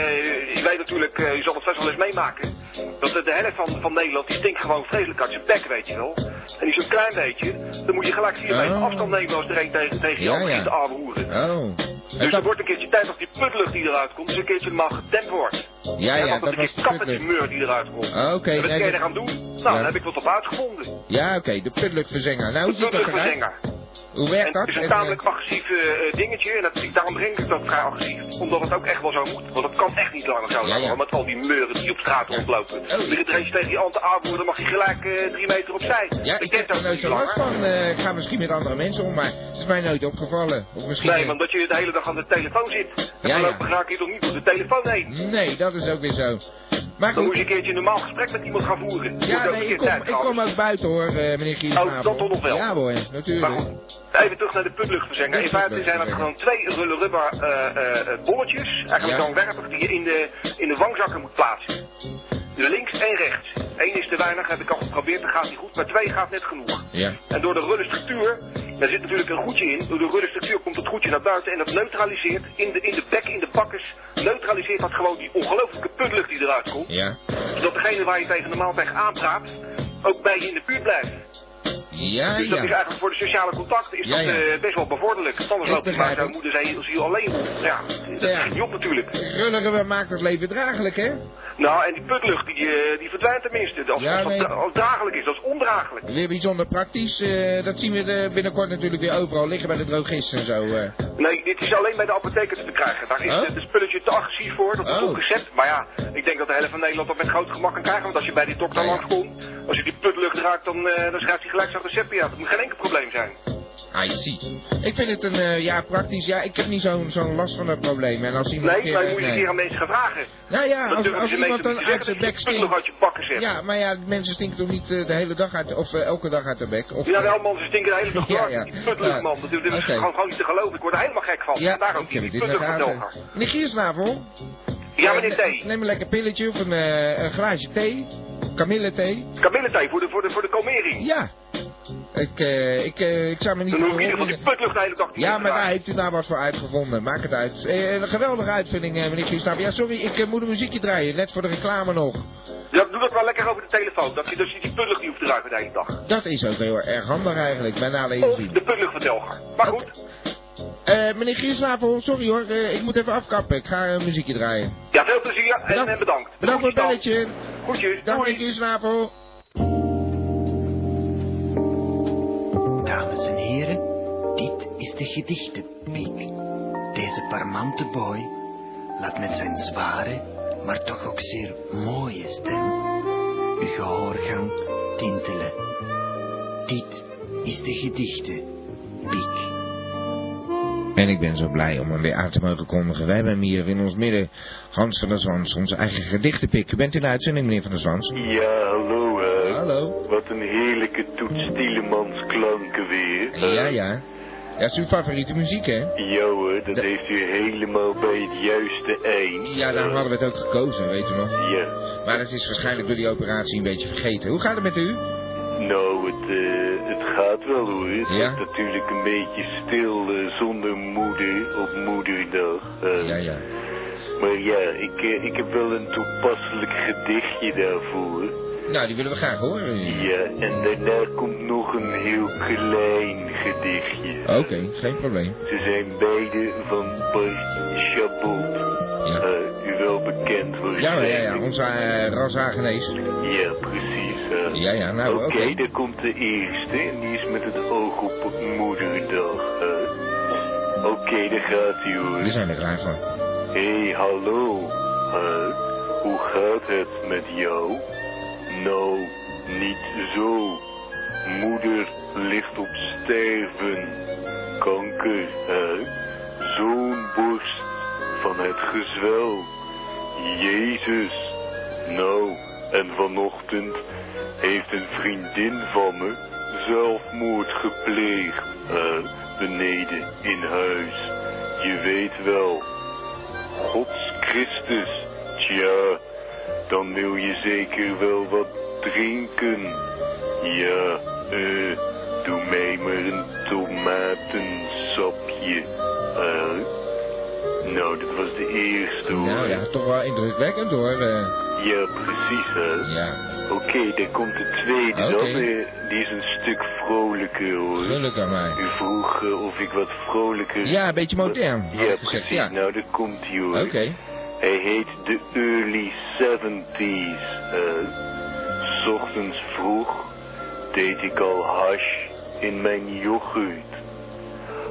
S9: je weet natuurlijk, eh, je zal het vast wel eens meemaken. Dat de, de helft van, van Nederland die stinkt gewoon vreselijk uit zijn bek, weet je wel. En die is zo'n klein beetje, dan moet je gelijk vier meter afstand nemen als er een tegen, tegen je
S2: Oh. Ja,
S9: ander
S2: ja.
S9: zit te aanroeren.
S2: Oh.
S9: Dus er wordt een keertje tijd dat die putlucht die eruit komt, dus een keertje normaal gedempt wordt.
S2: Ja, ja,
S9: want
S2: dat
S9: dat
S2: was
S9: is
S2: de
S9: een keer
S2: putlucht.
S9: smeur die eruit komt.
S2: Ah, oké,
S9: En wat
S2: nee,
S9: kun je
S2: dat-
S9: eraan doen? Nou,
S2: Ja.
S9: daar heb ik wat op uitgevonden.
S2: Ja, oké. de putluchtverzenger. Nou, hoe
S9: De
S2: ziet dat eruit?
S9: putluchtverzenger.
S2: Hoe werkt
S9: En
S2: dat?
S9: het is een
S2: En,
S9: tamelijk agressief eh, eh, dingetje en dat, daarom breng ik dat vrij agressief. Omdat het ook echt wel zo moet. Want het kan echt niet langer zo lang, hoor, met al die meuren die op straat rondlopen.
S2: Oh,
S9: Begint er eentje tegen die ante aanvoeren, dan mag je gelijk eh, drie meter opzij.
S2: eh, ja, ik heb er nooit zo last van. Eh, ik ga misschien met andere mensen om, maar het is mij nooit opgevallen. Of misschien...
S9: Nee, want dat je de hele dag aan de telefoon zit. En dan
S2: Ja, ja.
S9: lopen raak je toch niet door de telefoon heen.
S2: Nee, dat is ook weer zo. Maar
S9: Dan
S2: goed.
S9: moet je een keertje een normaal gesprek met iemand gaan voeren. Moet
S2: Ja,
S9: ook
S2: nee,
S9: een
S2: ik
S9: keer
S2: kom,
S9: tijd
S2: ik
S9: trouwens.
S2: kom ook buiten hoor, eh, meneer Giersnavel.
S9: Oh, dat toch nog wel.
S2: Ja hoor, natuurlijk.
S9: Maar goed, even terug naar de putluchtverzenger. In feite zijn dat gewoon twee rullen rubber eh, eh, bolletjes, eigenlijk
S2: Ja.
S9: langwerpig, die je in de, in de wangzakken moet plaatsen. De links en rechts. Eén is te weinig, heb ik al geprobeerd, dan gaat niet goed, maar twee gaat net genoeg.
S2: Ja.
S9: En door de rulle structuur Daar zit natuurlijk een goedje in. Door de rudderstructuur komt het goedje naar buiten en dat neutraliseert in de, in de bek, in de bakkers, neutraliseert dat gewoon die ongelooflijke putlucht die eruit komt.
S2: Ja.
S9: Zodat degene waar je tegen de maaltijd aanpraat, ook bij je in de buurt blijft.
S2: Ja,
S9: dus dat is
S2: ja.
S9: eigenlijk voor de sociale contacten is
S2: Ja,
S9: dat
S2: ja.
S9: eh, best wel bevorderlijk. Anders loopt die
S2: begrijp
S9: maar zo
S2: het.
S9: moeder zijn ziel alleen. Ja, dat
S2: Ja.
S9: is niet op natuurlijk.
S2: Runneren we maakt het leven draaglijk, hè?
S9: Nou, en die putlucht die, eh, die verdwijnt tenminste. Als,
S2: Ja,
S9: als, dat
S2: nee.
S9: da- als dagelijk is, dat is ondraaglijk.
S2: Weer bijzonder praktisch. eh, dat zien we eh, binnenkort natuurlijk weer overal liggen bij de drogist en zo. eh.
S9: Nee, dit is alleen bij de apotheker te krijgen. Daar is
S2: Oh?
S9: het het spulletje te agressief voor, dat is
S2: Oh.
S9: op recept. Maar ja, ik denk dat de helft van Nederland dat met groot gemak kan krijgen. Want als je bij die dokter langskomt, als je die putlucht raakt, dan, eh, dan schrijft hij gelijk zijn receptje uit. Dat moet geen enkel probleem zijn.
S2: Ah, je ziet. Ik vind het een, eh, ja, praktisch. Ja, ik heb niet zo'n zo'n last van dat probleem. En als iemand
S9: Nee,
S2: een keer,
S9: maar
S2: eh,
S9: moet je een
S2: nee.
S9: keer aan mensen gaan vragen.
S2: Nou ja,
S9: Dat
S2: als,
S9: durven
S2: als
S9: de meesten
S2: iemand dan
S9: niet te
S2: uit
S9: zeggen,
S2: zijn
S9: dat je die
S2: bek
S9: putlucht
S2: stinkt...
S9: uit je bakken zet.
S2: Ja, maar ja, mensen stinken toch niet eh, de hele dag uit, of eh, elke dag uit de bek? Of,
S9: Ja,
S2: eh,
S9: wel man, ze stinken de hele dag
S2: Ja,
S9: door.
S2: ja.
S9: Die putlucht,
S2: Ja.
S9: man. Dat, dat is
S2: Oké.
S9: gewoon, gewoon niet te geloven. Ik word er helemaal gek van.
S2: Ja,
S9: Daar ook
S2: ik heb
S9: die
S2: het in de
S9: putlucht
S2: gaten. Meneer Giersnavel?
S9: Ja,
S2: eh,
S9: meneer
S2: ne- Neem een lekker pilletje of een, eh, een glaasje thee. Kamille thee.
S9: Kamillethee voor de, voor de, voor de komering.
S2: Ja. Ik, eh, ik, eh, ik zou me niet...
S9: Dan hoef ik in ieder geval die putlucht de hele dag te
S2: Ja, maar
S9: gebruiken.
S2: daar heeft u nou wat voor uitgevonden. Maak het uit. Eh, een geweldige uitvinding, eh, meneer Giersnavel. Ja, sorry, ik eh, moet een muziekje draaien. Net voor de reclame nog.
S9: Ja, doe dat maar lekker over de telefoon. Dat je dus die putlucht niet hoeft te ruiken de hele dag.
S2: Dat is ook heel erg handig eigenlijk, bij nadeel inzien.
S9: De putlucht van Telgar. Maar goed,
S2: Eh, meneer Giersnavel, sorry hoor, eh, ik moet even afkappen. Ik ga eh, een muziekje draaien.
S9: ja, veel plezier en, en bedankt.
S2: Bedankt voor het belletje.
S9: Goedjes,
S2: Dag meneer Giersnavel.
S11: Dames en heren, dit is de gedichtenpiek. Deze parmante boy laat met zijn zware, maar toch ook zeer mooie stem uw gehoorgang tintelen. Dit is de gedichtenpiek.
S2: En ik ben zo blij om hem weer aan te mogen kondigen. Wij hebben hem hier in ons midden. Hans van der Zwans, onze eigen gedichtenpik. U bent in de uitzending, meneer van der Zwans.
S12: Ja, hallo hè.
S2: Hallo.
S12: Wat een heerlijke Toets Tielemans klanken weer. hè.
S2: Ja, ja. Ja, dat is uw favoriete muziek, hè?
S12: Ja hoor, dat heeft u helemaal bij het juiste eind.
S2: Ja, daarom hadden we het ook gekozen, weet u nog.
S12: Ja,
S2: Maar dat is waarschijnlijk door die operatie een beetje vergeten. Hoe gaat het met u?
S12: nou, het, eh, het gaat wel hoor. Het
S2: Ja?
S12: is natuurlijk een beetje stil eh, zonder moeder op moederdag. hè.
S2: Ja, ja.
S12: Maar ja, ik, eh, ik heb wel een toepasselijk gedichtje daarvoor.
S2: Nou, die willen we graag horen.
S12: Ja, en daarna komt nog een heel klein gedichtje.
S2: Oké, geen probleem.
S12: Ze zijn beide van Bart Chabot.
S2: Ja.
S12: Eh, u wel bekend
S2: Ja, hoor, ja,
S12: waarschijnlijk.
S2: ja. Onze eh rashagenees.
S12: Ja, precies. hè.
S2: Ja, ja, nou,
S12: Oké,
S2: oké.
S12: daar komt de eerste. En die is met het oog op moederdag. hè. Oké, daar gaat ie hoor.
S2: We Oh, zijn er klaar voor.
S12: Hé, hey, hallo. hè. hoe gaat het met jou? Nou, niet zo. Moeder ligt op sterven. Kanker, hè? Zo'n borst van het gezwel. Jezus. Nou, en vanochtend heeft een vriendin van me zelfmoord gepleegd. hè, beneden in huis. Je weet wel. Gods Christus. Tja, dan wil je zeker wel wat drinken. Ja, eh, doe mij maar een tomatensapje. Eh, nou, dat was de eerste hoor.
S2: Nou ja, toch wel indrukwekkend hoor. eh.
S12: Ja, precies hè. Oké, daar komt de tweede
S2: Oké.
S12: dan. eh, die is een stuk vrolijker hoor.
S2: Gelukkig aan mij.
S12: U vroeg eh, of ik wat vrolijker...
S2: Ja, een beetje modern, had
S12: Ja,
S2: ik
S12: precies.
S2: gezegd, ja.
S12: Nou, daar komt hij hoor.
S2: Oké.
S12: Hij heet de Early 70s. eh. S ochtends vroeg deed ik al hash in mijn yoghurt.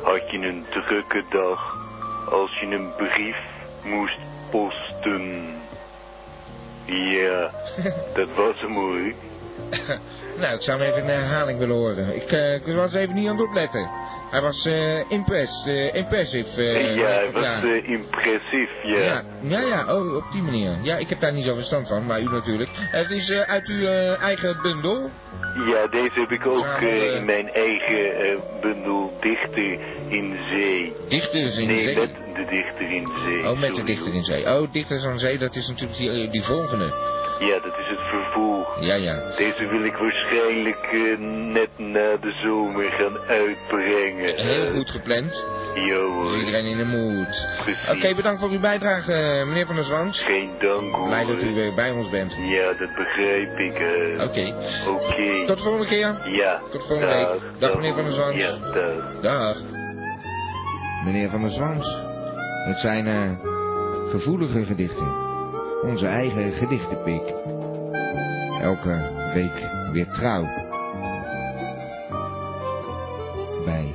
S12: Had je een drukke dag als je een brief moest posten? Ja, dat was hem hoor.
S2: Nou, ik zou hem even een herhaling willen horen. Ik, eh, ik was even niet aan het opletten. Hij was eh impress, eh, impressive. eh,
S12: ja, hij was
S2: ja.
S12: eh, impressief, ja.
S2: Ja, ja, ja, oh, op die manier. Ja, ik heb daar niet zo verstand van, maar u natuurlijk. Het is eh, uit uw eh, eigen bundel.
S12: Ja, deze heb ik ook
S2: Samen,
S12: eh,
S2: eh,
S12: in mijn eigen eh, bundel Dichter in Zee.
S2: Dichters in
S12: nee,
S2: Zee?
S12: met de Dichter in Zee.
S2: Oh, met de
S12: sorry.
S2: Dichter in Zee. Oh, Dichters aan Zee, dat is natuurlijk die, eh, die volgende.
S12: Ja, dat is het vervoer.
S2: Ja, ja.
S12: Deze wil ik waarschijnlijk eh, net na de zomer gaan uitbrengen.
S2: Heel goed gepland.
S12: Jo
S2: Is
S12: hoor.
S2: iedereen in de moed.
S12: Precies.
S2: Oké, bedankt voor uw bijdrage, eh, meneer Van der Zwans.
S12: Geen dank hoor.
S2: Blij dat u weer bij ons bent.
S12: Ja, dat begrijp ik. eh.
S2: Oké.
S12: Oké.
S2: Tot de volgende keer.
S12: Ja.
S2: Tot volgende
S12: dag,
S2: week. Dag, meneer Van der Zwans.
S12: Ja, dag.
S2: Dag. Meneer Van der Zwans. Het zijn eh, gevoelige gedichten. Onze eigen gedichtenpik. Elke week weer trouw. Bij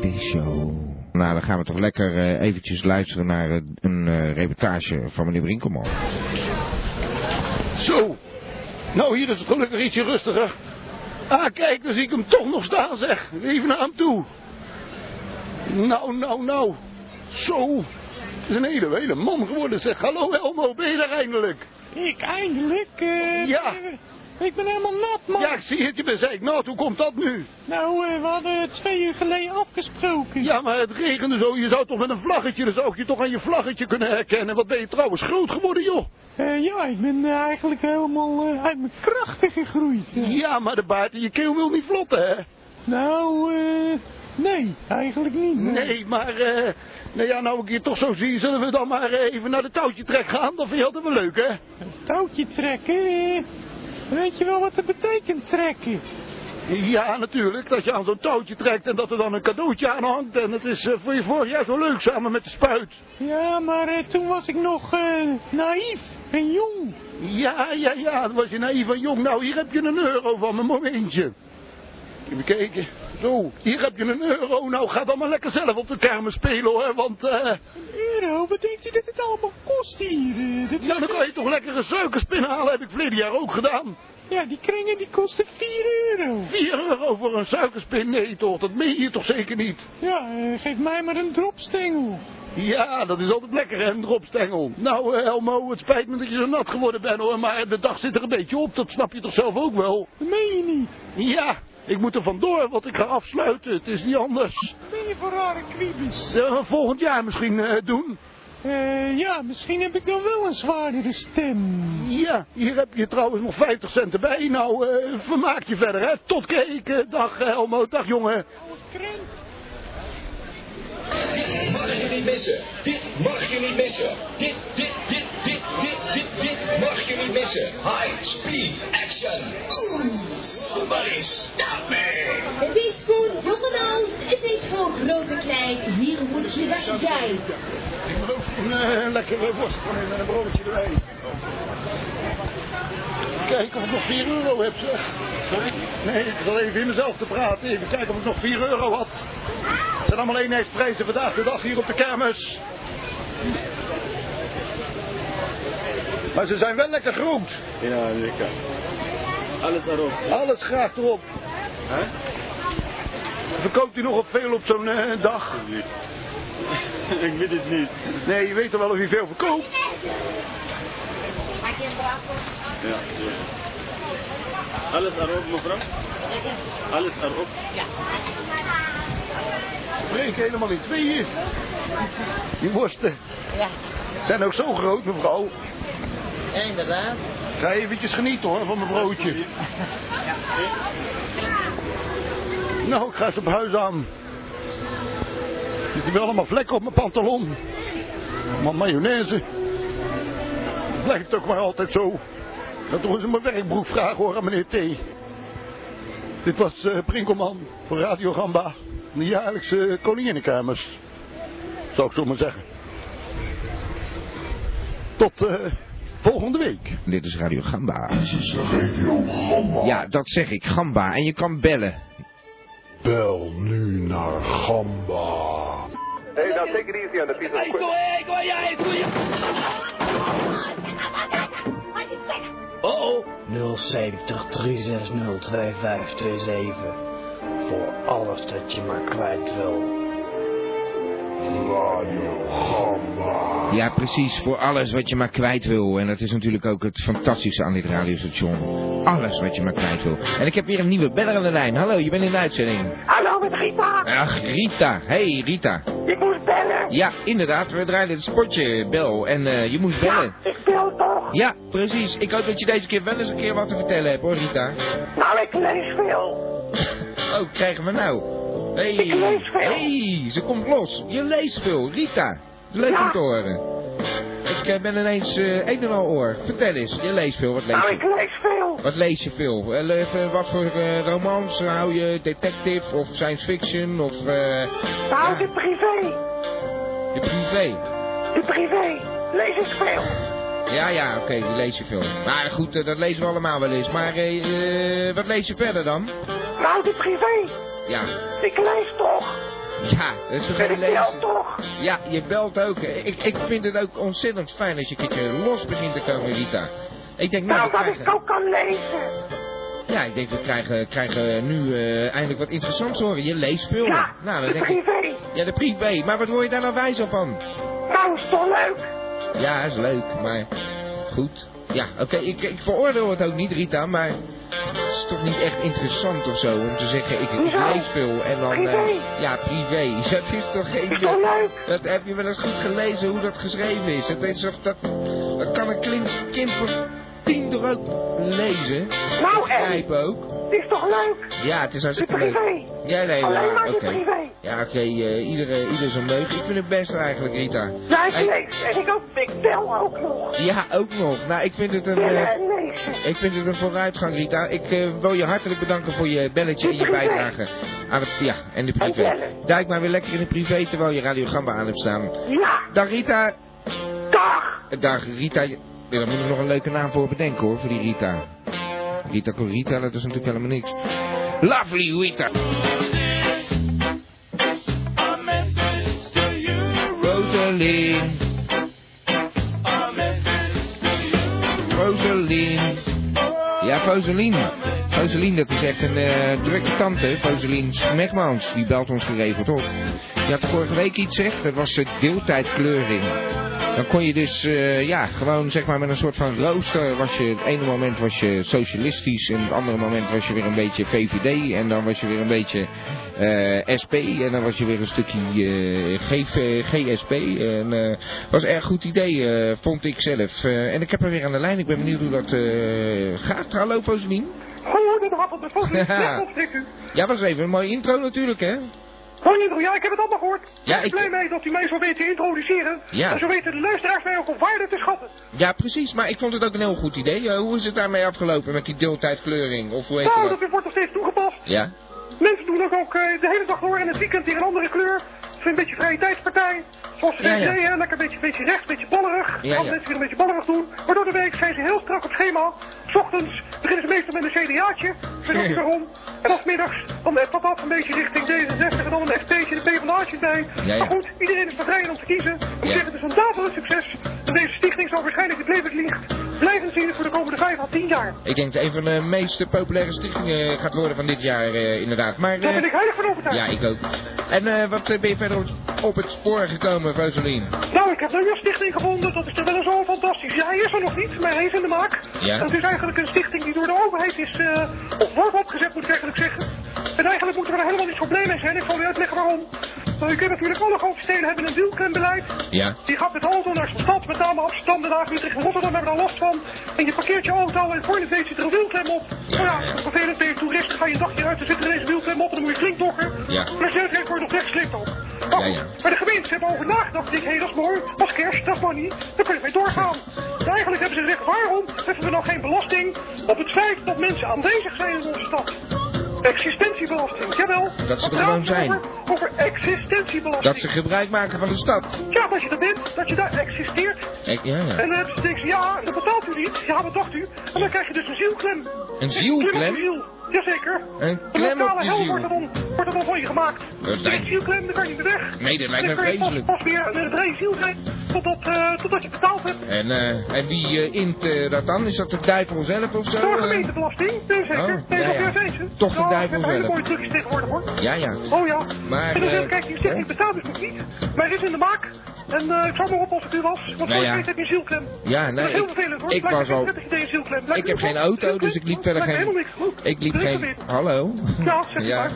S2: de show. Nou, dan gaan we toch lekker eh, eventjes luisteren naar eh, een eh, reportage van meneer Brinkelman.
S6: Zo. Nou, hier is het gelukkig ietsje rustiger. Ah, kijk, dan zie ik hem toch nog staan, zeg. Even naar hem toe. Nou, nou, nou. Zo. Het is een hele, hele man geworden, zeg. Hallo, Elmo, ben je daar eindelijk? Ik eindelijk? ja. Ik ben helemaal nat, man. Ja, ik zie het. Je bent zeik nat. Hoe komt dat nu? Nou, we hadden twee uur geleden afgesproken. Ja, maar het regende zo. Je zou toch met een vlaggetje, dan zou ik je toch aan je vlaggetje kunnen herkennen. Wat ben je trouwens groot geworden, joh. Eh, ja, ik ben eigenlijk helemaal eh, uit mijn krachten gegroeid. Ja, maar de baard in je keel wil niet vlotten, hè? Nou, nee, eigenlijk niet. Nee, maar eh, nou ja, nou ik je toch zo zie, zullen we dan maar eh, even naar de touwtje trek gaan? Dan vind je dat wel leuk, hè? Touwtje trekken? Weet je wel wat het betekent, trekken? Ja, natuurlijk. Dat je aan zo'n touwtje trekt en dat er dan een cadeautje aan hangt. En het is eh, voor je vorig jaar zo leuk samen met de spuit. Ja, maar eh, toen was ik nog eh, naïef en jong. Ja, ja, ja. Dan was je naïef en jong. Nou, hier heb je een euro van me, momentje. Even kijken. Zo, hier heb je een euro. Nou, ga dan maar lekker zelf op de kermis spelen hoor, want... eh euro? Wat denkt u dat het allemaal kost hier? nou, dan kan je toch lekker een suikerspin halen. Heb ik verleden jaar ook gedaan. Ja, die kringen die kosten 4 euro. 4 euro voor een suikerspin? Nee toch, dat meen je toch zeker niet? Ja, Eh, geef mij maar een dropstengel. Ja, dat is altijd lekker, hè, een dropstengel. Nou, eh, Elmo, het spijt me dat je zo nat geworden bent, hoor. Maar de dag zit er een beetje op, dat snap je toch zelf ook wel? Dat meen je niet? Ja, ik moet er vandoor, want ik ga afsluiten. Het is niet anders. Wat ben je voor rare kwiebes? volgend jaar misschien eh, doen. Eh, ja, misschien heb ik dan wel een zwaardere stem. Ja, hier heb je trouwens nog 50 cent erbij. Nou, eh, vermaak je verder, hè. Tot keek. eh, dag, eh, Elmo. Dag, jongen.
S13: mag je niet missen. Dit mag je niet missen. Dit, dit, dit, dit, dit, dit, dit mag je niet missen. High speed action. Oeh, somebody stop me.
S14: Het is voor jong en oud, het is voor groot en klein, hier moet je dat zijn.
S6: Ik wil ook een eh, lekkere worst van hem en een eh, broodje erbij. Kijken of ik nog 4 euro heb, zeg. Nee, ik zal even in mezelf te praten. Even kijken of ik nog 4 euro had. Het zijn allemaal eenheidsprijzen vandaag de dag hier op de kermis. Maar ze zijn wel lekker groot.
S15: Ja, lekker. Alles erop.
S6: Alles graag erop. Verkoopt u nogal veel op zo'n eh, dag? Ik weet het niet. Nee, je weet toch wel of je veel verkoopt?
S15: Ja, ja. Alles erop, mevrouw? Alles erop? Ja.
S6: Breek helemaal in tweeën. Die worsten
S16: Ja,
S6: zijn ook zo groot, mevrouw.
S16: inderdaad.
S6: Ga eventjes genieten hoor van mijn broodje. Nou, ik ga eens op huis aan. Er zitten wel allemaal vlekken op mijn pantalon. Mijn mayonaise. Blijft ook maar altijd zo. Ik ga toch eens mijn werkbroek vragen hoor aan meneer T. Dit was eh Prinkelman voor Radio Gamba. De jaarlijkse koninginnenkamers. Zou ik zo maar zeggen. Tot eh, volgende week.
S2: Dit is Radio Gamba. Ja, dat zeg ik, Gamba. En je kan bellen.
S6: Bel nu naar Gamba.
S9: Hey, now take it easy on the piece of equipment.
S13: Oh, 070 360 2527. Voor alles dat je maar kwijt wil.
S2: Ja, precies. Voor alles wat je maar kwijt wil. En dat is natuurlijk ook het fantastische aan dit radiostation. Alles wat je maar kwijt wil. En ik heb weer een nieuwe beller aan de lijn. Hallo, je bent in de uitzending.
S17: Hallo met Rita.
S2: Ach, Rita. Hey, Rita.
S17: Ik moest bellen.
S2: Ja, inderdaad. We draaiden het spotje, Bel. En eh, je moest bellen.
S17: Ja, ik bel toch.
S2: Ja, precies. Ik hoop dat je deze keer wel eens een keer wat te vertellen hebt, hoor, Rita.
S17: Nou, ik lees veel.
S2: Oh, krijgen we nou. Hey.
S17: Ik lees veel.
S2: Hey, ze komt los. Je leest veel, Rita. Leuk om te horen. Ik eh, ben ineens eh een en al oor. Vertel eens, je leest veel. Wat lees
S17: Nou,
S2: je?
S17: ik lees veel.
S2: Wat lees je veel? Eh, le- eh, wat voor eh, romans hou je? Detective of science fiction of eh,
S17: Nou, de privé.
S2: de privé?
S17: De privé. Lees ik veel.
S2: Ja, ja, oké, die lees je veel. Maar goed, eh, dat lezen we allemaal wel eens. Maar eh, eh, wat lees je verder dan?
S17: Nou, de privé.
S2: Ja,
S17: Ik lees toch.
S2: ja, dat is toch
S17: En
S2: geen
S17: ik
S2: lezen?
S17: bel toch.
S2: Ja, je belt ook. Ik, ik vind het ook ontzettend fijn als je een keertje los begint te komen, Rita. Ik denk, nou,
S17: Nou,
S2: we
S17: dat
S2: krijgen,
S17: ik ook kan lezen.
S2: ja, ik denk, we krijgen, krijgen nu eh, eindelijk wat interessants horen. Je leest veel.
S17: Ja,
S2: nou,
S17: de
S2: denk
S17: privé.
S2: Ik, ja, de privé. Maar wat word je daar nou wijs op van?
S17: Nou, is toch leuk.
S2: Ja, is leuk, maar goed. Ja, oké, ik, ik veroordeel het ook niet, Rita, maar het is toch niet echt interessant of zo om te zeggen, ik, ik
S17: Hoezo?
S2: lees veel en dan... eh,
S17: Privé.
S2: ja, privé. Dat is toch geen...
S17: Is toch leuk?
S2: Dat heb je wel eens goed gelezen hoe dat geschreven is. Dat, is toch- dat, dat kan een klin- kind van tien toch ook lezen?
S17: Nou, en?
S2: Begrijpen ook.
S17: Het is toch leuk?
S2: Ja, het is hartstikke
S17: De privé.
S2: leuk. Ja, nee,
S17: Alleen
S2: maar
S17: maar de
S2: oké.
S17: privé.
S2: Ja, oké, eh, ieder, ieder zijn leuk. Ik vind het best eigenlijk, Rita.
S17: Ja, ik
S2: Hey,
S17: lees. En ik, ook, ik bel ook nog.
S2: ja, ook nog. Nou, ik vind het een,
S17: Bellen
S2: eh,
S17: en lezen.
S2: ik vind het een vooruitgang, Rita. Ik eh, wil je hartelijk bedanken voor je belletje en je
S17: privé.
S2: bijdrage. Aan het, ja, en de
S17: En
S2: privé.
S17: bellen.
S2: Duik maar weer lekker in de privé terwijl je Radio Gamba aan hebt staan.
S17: Ja.
S2: Dag Rita.
S17: Dag.
S2: Dag Rita. Ja, daar moet ik nog een leuke naam voor bedenken hoor, voor die Rita. Rita Corita, dat is natuurlijk helemaal niks. Lovely Rita. Rosaline. Rosaline. Ja, Rosaline. Rosaline, dat is echt een eh, drukke tante. Rosaline Smekmans, die belt ons geregeld op. Je had vorige week iets, zeg. Dat was de deeltijdkleuring. Dan kon je dus, eh, ja, gewoon zeg maar met een soort van rooster was je... Het ene moment was je socialistisch en het andere moment was je weer een beetje VVD. En dan was je weer een beetje eh, SP en dan was je weer een stukje eh, GV, GSP. En eh, was een erg goed idee, eh, vond ik zelf. Eh, en ik heb er weer aan de lijn. Ik ben benieuwd hoe dat eh, gaat. Hallo, Foselien.
S18: Goedenavond, het is Fosley.
S2: Ja.
S18: Ja, dat zegt u.
S2: Ja, was even een mooie intro natuurlijk, hè?
S18: Mooi intro, ja, ik heb het allemaal gehoord.
S2: Ja,
S18: ik ben blij mee dat u mij zo weet te introduceren.
S2: Ja.
S18: En zo weten de luisteraars mij ook op waarde te schatten.
S2: Ja, precies. Maar ik vond het ook een heel goed idee. Eh, hoe is het daarmee afgelopen met die deeltijdkleuring? Of hoe heet
S18: nou,
S2: dat?
S18: dat wordt nog steeds toegepast.
S2: Ja?
S18: Mensen doen dat ook eh, de hele dag door en het weekend weer een andere kleur. Het is een beetje vrije tijdspartij. Zoals de
S2: Ja,
S18: ja,
S2: ja.
S18: hè, lekker een beetje, beetje recht, een beetje ballerig.
S2: Ja,
S18: Andere
S2: ja.
S18: mensen weer een beetje ballerig doen. Maar door de week zijn ze heel strak op schema. S ochtends beginnen ze meestal met een CDA'tje. Ik weet ook waarom. En als middags, dan eh, papa een beetje richting D66 en dan een FP'tje, de PvdA'tje bij.
S2: Ja, ja.
S18: Maar goed, iedereen is vrij om te kiezen. Ik
S2: Ja.
S18: zeg, het is een daverend succes. Dat deze stichting zal waarschijnlijk het levenslicht blijven zien voor de komende 5 à 10 jaar.
S2: Ik denk dat een van de meest eh, populaire stichtingen gaat worden van dit jaar, eh, inderdaad. Maar,
S18: Daar
S2: eh,
S18: ben ik heilig van overtuigd.
S2: Ja, ik ook. En eh, wat eh, ben je verder op, op het spoor gekomen, Rosalien?
S18: Nou, ik heb nu een stichting gevonden, dat is toch wel zo fantastisch. Ja, hij is er nog niet, maar hij is in de maak.
S2: Ja.
S18: En het is eigenlijk een stichting die door de overheid is, eh, of wordt opgezet, moet ik eigenlijk zeggen. En eigenlijk moeten we er helemaal niet zo blij mee zijn, ik zal u uitleggen waarom. Eh, U kent natuurlijk alle grote steden hebben een wielklembeleid.
S2: Ja.
S18: Die gaat met auto naar zijn stad, met name Amsterdam, Den Haag, Utrecht en Rotterdam hebben daar last van. En je parkeert je auto en voor je het weet zit er een wielklem op. Nou ja, vervelend ben je toerist, ga je een dagje uit, er zit er deze wielklem op en dan moet je flink dokken.
S2: Ja.
S18: Maar als je uitrijdt word je nog rechtslicht op.
S2: Ja, ja.
S18: Maar de gemeente hebben over nagedacht. Ik denk, hé, dat is mooi. Dat is kerst, dat is money. Daar kunnen we mee doorgaan. En eigenlijk hebben ze gezegd, waarom heffen we nou geen belasting op het feit dat mensen aanwezig zijn in onze stad? Existentiebelasting, jawel.
S2: Dat ze er
S18: Wat
S2: gewoon
S18: praat
S2: zijn.
S18: Over, over existentiebelasting.
S2: Dat ze gebruik maken van de stad.
S18: Ja, dat je er bent, dat je daar existeert.
S2: Ik, ja,
S18: En
S2: ja.
S18: dan hebben ze tegen ze, ja, dat betaalt u niet. Ja, wat dacht u? En dan krijg je dus een zielklem.
S2: Een zielklem?
S18: Een klem op de ziel. Jazeker.
S2: Een
S18: De
S2: klem op
S18: lokale
S2: je
S18: hel
S2: ziel.
S18: wordt er dan, wordt er dan van je gemaakt.
S2: Dat
S18: Je hebt
S2: lijkt-
S18: zielklem, dan kan je niet meer weg.
S2: Nee, dat lijkt me
S18: dan kun je pas,
S2: vreselijk.
S18: pas weer een brede ziel zijn totdat, eh, totdat je betaald hebt.
S2: En, eh, en wie eh, int eh, dat dan? Is dat de duivel zelf of zo?
S18: Door
S2: eh?
S18: gemeentebelasting, nee, zeker.
S2: Oh,
S18: nee,
S2: ja,
S18: dat
S2: ja.
S18: is wezen.
S2: Toch de
S18: Nou,
S2: duivel
S18: we hebben hele
S2: zelf.
S18: mooie trucjes tegenwoordig hoor.
S2: Ja, ja.
S18: Oh ja.
S2: Maar,
S18: en dan zeg
S2: eh,
S18: ik, kijk, die stichting betaalt dus nog niet. Maar het is in de maak. En eh, ik zal maar op als ik u was. Want
S2: Nou
S18: voor
S2: ja.
S18: je weet heb je een zielklem.
S2: Ja,
S18: dat
S2: nee,
S18: is heel
S2: ik-
S18: vervelend hoor.
S2: ik
S18: Lijkt me
S2: was al-
S18: geen prettig idee, een zielklem. Lijkt
S2: Ik
S18: u
S2: heb
S18: ook
S2: geen
S18: wat?
S2: auto,
S18: Zielklem?
S2: dus ik liep verder
S18: Lijkt
S2: geen...
S18: me helemaal niks. Goed.
S2: Ik liep
S18: Er is er
S2: geen...
S18: weer.
S2: Hallo?
S18: Ja, zeg
S2: ja.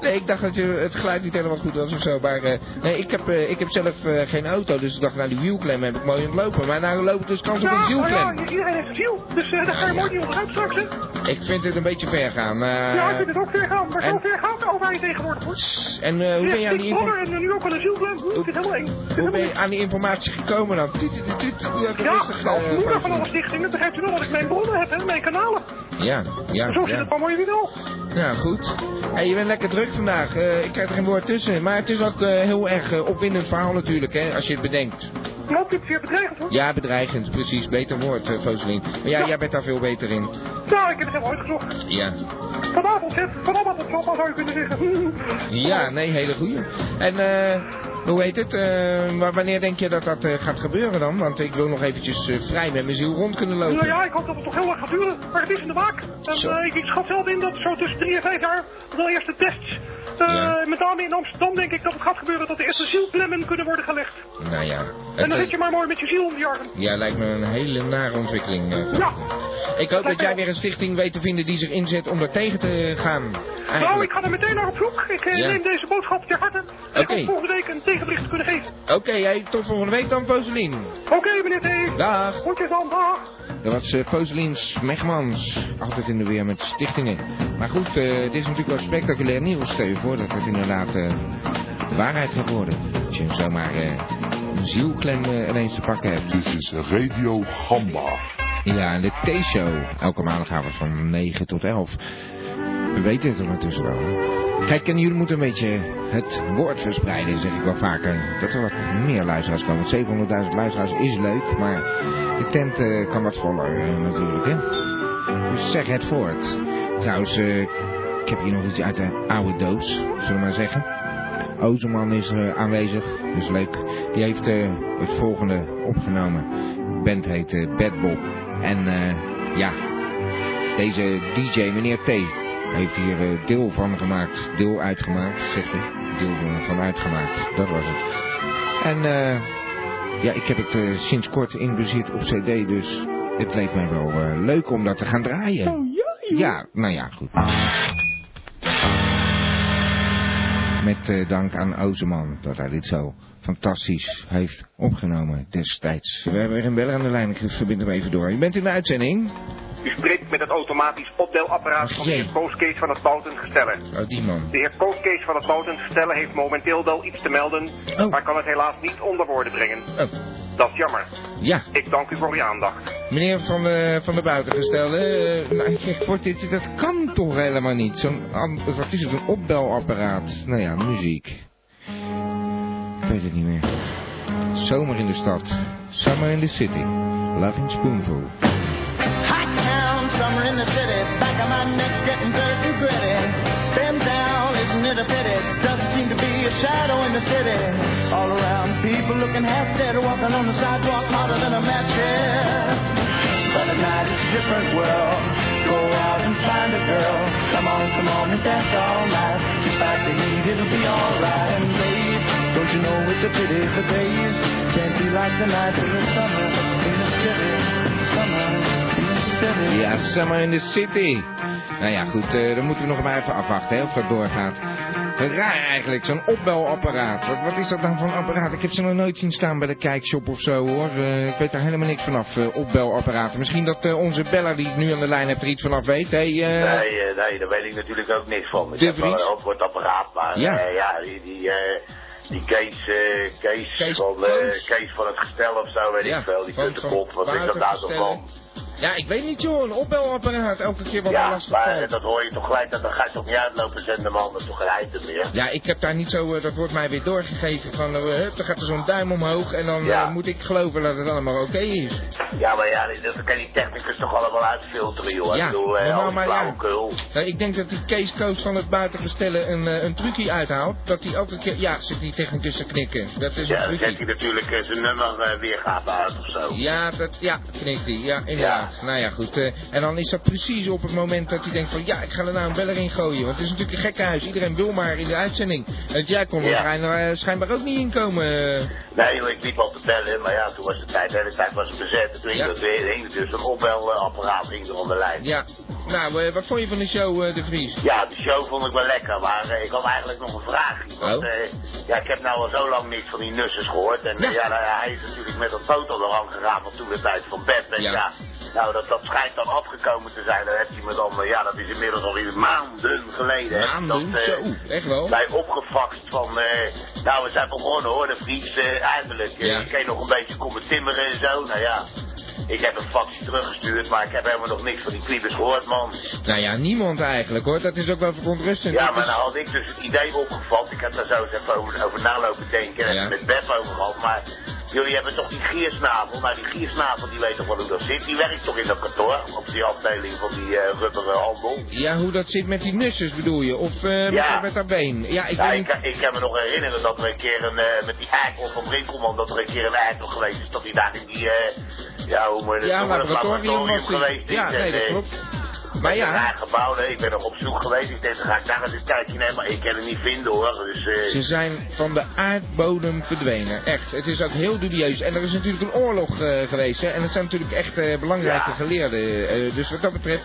S2: nee, ik dacht dat je, het geluid niet helemaal goed was of zo. Maar eh, nee, ik heb, eh, ik heb zelf eh, geen auto, dus ik dacht, nou die wielklem heb ik mooi ontlopen. Maar nou loop ik dus kans op
S18: Ja,
S2: een
S18: nou
S2: wielklem.
S18: ja, iedereen heeft een ziel. Dus eh, daar ga je mooi niet onderuit straks hè.
S2: Ik vind dit een beetje ver gaan. eh.
S18: Ja, ik vind het ook ver gaan. Maar
S2: en-
S18: zo ver gaat de overheid tegenwoordig hoor.
S2: En eh, hoe ben je aan die
S18: info...
S2: info-
S18: En nu ook al een zielklem. Oeh, dit is helemaal eng.
S2: hoe ben je aan die informatie gekomen dan? Tiet, tiet, tiet, tiet,
S18: Ja,
S2: rustig, eh,
S18: als moeder van alle
S2: Frankie.
S18: stichtingen begrijpt u wel dat ik mijn bronnen heb en mijn kanalen.
S2: Ja, ja,
S18: Zo zit
S2: ja.
S18: het allemaal in jullie wel.
S2: Ja, goed. Hey, je bent lekker druk vandaag. Eh, ik krijg er geen woord tussen. Maar het is ook eh, heel erg eh, opwindend verhaal natuurlijk, hè, als je het bedenkt.
S18: Klopt, dit is weer bedreigend hoor.
S2: Ja, bedreigend, precies. Beter woord, eh Foselien. Maar ja, jij bent daar veel beter in.
S18: Nou, ik heb het helemaal uitgezocht.
S2: Ja.
S18: Vanavond, hè. Vanavond op papa zou je kunnen zeggen.
S2: Ja, nee, hele goeie. En eh, hoe heet het? Eh, maar wanneer denk je dat dat eh, gaat gebeuren dan? Want ik wil nog eventjes eh, vrij met mijn ziel rond kunnen
S18: Nou
S2: lopen.
S18: ja, ik hoop dat het toch heel lang gaat duren. Maar het is in de maak. En
S2: Zo.
S18: eh, ik, ik schat zelf in dat zo tussen drie en vijf jaar de eerste tests. eh,
S2: Ja.
S18: Met name in Amsterdam denk ik dat het gaat gebeuren dat de eerste zielklemmen kunnen worden gelegd.
S2: Nou ja.
S18: en dan
S2: eh,
S18: zit je maar mooi met je ziel om die arm.
S2: Ja, lijkt me een hele nare ontwikkeling. eh,
S18: Ja.
S2: Ik hoop dat jij weer een stichting weet te vinden die zich inzet om daar tegen te gaan.
S18: Nou,
S2: Eigenlijk.
S18: ik ga er meteen naar op zoek. Ik eh,
S2: Ja.
S18: neem deze boodschap ter harte. En ik
S2: Oké.
S18: hoop volgende week een tegenbericht te kunnen geven.
S2: Oké, hey, tot volgende week dan, Poselien.
S18: Oké, meneer T.
S2: Dag.
S18: Groetjes dan, dag.
S2: Dat was eh Poselien Smegmans. Altijd in de weer met stichtingen. Maar goed, eh, het is natuurlijk wel spectaculair nieuws. Stel je voor dat het inderdaad eh, waarheid gaat worden. Dat je zomaar eh, een zielklem eh, ineens te pakken hebt. Dit is Radio Gamba. Ja, en de T-show. Elke maandagavond van 9 tot 11. We weten het ondertussen wel. hè. Kijk, en jullie moeten een beetje het woord verspreiden, zeg ik wel vaker. Dat er wat meer luisteraars komen. Want 700.000 luisteraars is leuk, maar de tent eh, kan wat voller eh, natuurlijk, hè. Dus zeg het voort. Trouwens, eh, ik heb hier nog iets uit de oude doos, zullen we maar zeggen. Ozeman is eh, aanwezig, dus leuk. Die heeft eh, het volgende opgenomen. De band heet eh, Bad Bob. En eh, ja, deze DJ, meneer T, heeft hier eh, deel van gemaakt. Deel uitgemaakt, zegt hij. Deel van, van uitgemaakt, dat was het. En eh, ja, ik heb het eh, sinds kort in bezit op cd, dus het leek mij wel eh, leuk om dat te gaan draaien. Ja, nou ja, goed. Met eh, dank aan Ozeman dat hij dit zo fantastisch heeft opgenomen destijds. We hebben weer een beller aan de lijn, ik verbind hem even door. Je bent in de uitzending?
S9: U spreekt met het automatisch opdelapparaat van de heer Kooskees van het Boutengestellen.
S2: Oh, die man.
S9: De heer Kooskees van het Boutengestellen heeft momenteel wel iets te melden,
S2: Oh.
S9: maar kan het helaas niet onder woorden brengen. Dat is jammer.
S2: Ja.
S9: Ik dank u voor uw aandacht.
S2: Meneer van de, van de buitengestelde, eh, nou, ik word dit, dat kan toch helemaal niet. Zo'n, am- wat is het, een opbelapparaat? Nou ja, muziek. Ik weet het niet meer. Zomer in de stad. Summer in the city. Loving Spoonful.
S19: Hot town, summer in the city. Back of my neck getting dirt and gritty. Stand down, isn't it a pity? Doesn't seem to be a shadow in the city. All around, people looking half dead, walking on the sidewalk hotter than a match here. But at night it's a different world. Go out and find a girl. Come on, come on and dance all night. Despite the heat, it'll be alright. And babe, don't you know it's a pity the days can't be like the nights in the summer in the city. Summer.
S2: Ja, Summer in the City. Nou ja, goed, eh, dan moeten we nog maar even afwachten hè, of dat doorgaat. Raar eigenlijk, zo'n opbelapparaat. Wat, wat is dat nou voor een apparaat? Ik heb ze nog nooit zien staan bij de kijkshop of zo hoor. Eh, ik weet daar helemaal niks vanaf, eh, opbelapparaten. Misschien dat eh, onze beller die ik nu aan de lijn heb er iets vanaf weet. Hey, eh,
S20: Nee, eh, nee, daar weet ik natuurlijk ook niks van. Ik
S2: De
S20: heb wel
S2: Vries?
S20: een antwoordapparaat, maar
S2: Ja.
S20: ja, ja die, die, eh, die Kees, eh, Kees, van, eh, Kees van het gestel of zo, weet
S2: Ja,
S20: ik veel. Die
S2: van-
S20: kutte
S2: van
S20: kop, wat is dat nou toch
S2: buitengestellen.
S20: van?
S2: Ja, ik weet niet joh, een opbelapparaat elke keer wat
S20: ja,
S2: er lastig
S20: maar
S2: valt.
S20: eh, dat hoor je toch gelijk, dat dan ga je toch niet uitlopen zenden, man, dat is toch geen item meer.
S2: Ja, ik heb daar niet zo, eh, dat wordt mij weer doorgegeven van, eh, hup, dan gaat er zo'n duim omhoog en dan
S20: Ja.
S2: eh, moet ik geloven dat het allemaal oké is.
S20: Ja, maar ja, dat kan die technicus toch allemaal uitfilteren, joh.
S2: Ja,
S20: ik bedoel, eh,
S2: normaal
S20: al die
S2: maar ja.
S20: flauwekul.
S2: Nou, ik denk dat die Kees Koos van het buitenbestellen een, eh, een trucje uithaalt, dat hij elke keer, ja, zit die technicus te knikken. Dat is
S20: Ja,
S2: een
S20: dan zet
S2: trucje.
S20: hij natuurlijk eh, zijn nummer eh, weergave uit of zo.
S2: Ja, dat, ja, knikt hij. Ja, inderdaad. Nou ja, goed. eh, en dan is dat precies op het moment dat hij denkt van, ja, ik ga er nou een beller in gooien. Want het is natuurlijk een gekkenhuis. Iedereen wil maar in de uitzending. Want jij kon er
S20: Ja.
S2: schijn- eh, schijnbaar ook niet inkomen. eh.
S20: Nee, joh, ik liep al te bellen, maar ja, toen was de tijd, de hele tijd was het bezet. En Toen hing, dat weer, hing dus een opbelapparaat hing er om de lijn.
S2: Ja. Nou, eh, wat vond je van de show, eh, De Vries?
S20: Ja, de show vond ik wel lekker, maar eh, ik had eigenlijk nog een
S2: Oh.
S20: vraagje. Want, eh, ja, ik heb nou al zo lang niks van die nussers gehoord. En eh, ja, nou ja, hij is natuurlijk met een foto eraan gegaan van toen de tijd van bed. En ja, nou, dat, dat schijnt dan afgekomen te zijn. Dan heb je me dan, eh, ja, dat is inmiddels al iets maanden geleden. hè,
S2: Maanden?
S20: dat, eh,
S2: Zo, echt wel?
S20: Mij opgefaxt van, eh, nou, we zijn begonnen hoor, de Fries, eh, eindelijk. Eh,
S2: Ja.
S20: Ik kan nog een beetje komen timmeren en zo, nou ja. Ik heb een faxje teruggestuurd, maar ik heb helemaal nog niks van die kliebers gehoord, man.
S2: Nou ja, niemand eigenlijk hoor. Dat is ook wel verontrustend.
S20: Ja,
S2: Dat
S20: maar
S2: is-
S20: nou had ik dus het idee opgevat. Ik heb daar zo eens even over, over nalopen denken en
S2: Ja.
S20: even met Beb over gehad. Maar jullie hebben toch die giersnavel? Nou, die giersnavel die weet toch wel hoe dat zit. Die werkt toch in dat kantoor? Op die afdeling van die eh rubberen handel.
S2: Ja, hoe dat zit met die nussers bedoel je? Of eh, met,
S20: Ja.
S2: haar- met haar been? Ja, ik
S20: Nou,
S2: weet
S20: ik,
S2: niet.
S20: kan- ik kan me nog herinneren dat er een keer een, eh, met die eikel van Brinkelman, dat er een keer een eikel geweest is. Dat hij daar in die, eh, ja, hoe moet je dat
S2: Ja,
S20: noemen, dat
S2: laboratorium was die.
S20: geweest is.
S2: Ja, nee,
S20: En,
S2: dat
S20: eh,
S2: klopt.
S20: Maar ja. Raar gebouw, nee, ik ben nog op zoek geweest. Ik denk, dan ga ik daar eens een kijkje nemen. Maar ik kan het niet vinden hoor. Dus, eh,
S2: Ze zijn van de aardbodem verdwenen. Echt. Het is ook heel dubieus. En er is natuurlijk een oorlog eh, geweest. Hè? En het zijn natuurlijk echt eh, belangrijke
S20: Ja.
S2: geleerden. eh, dus wat dat betreft,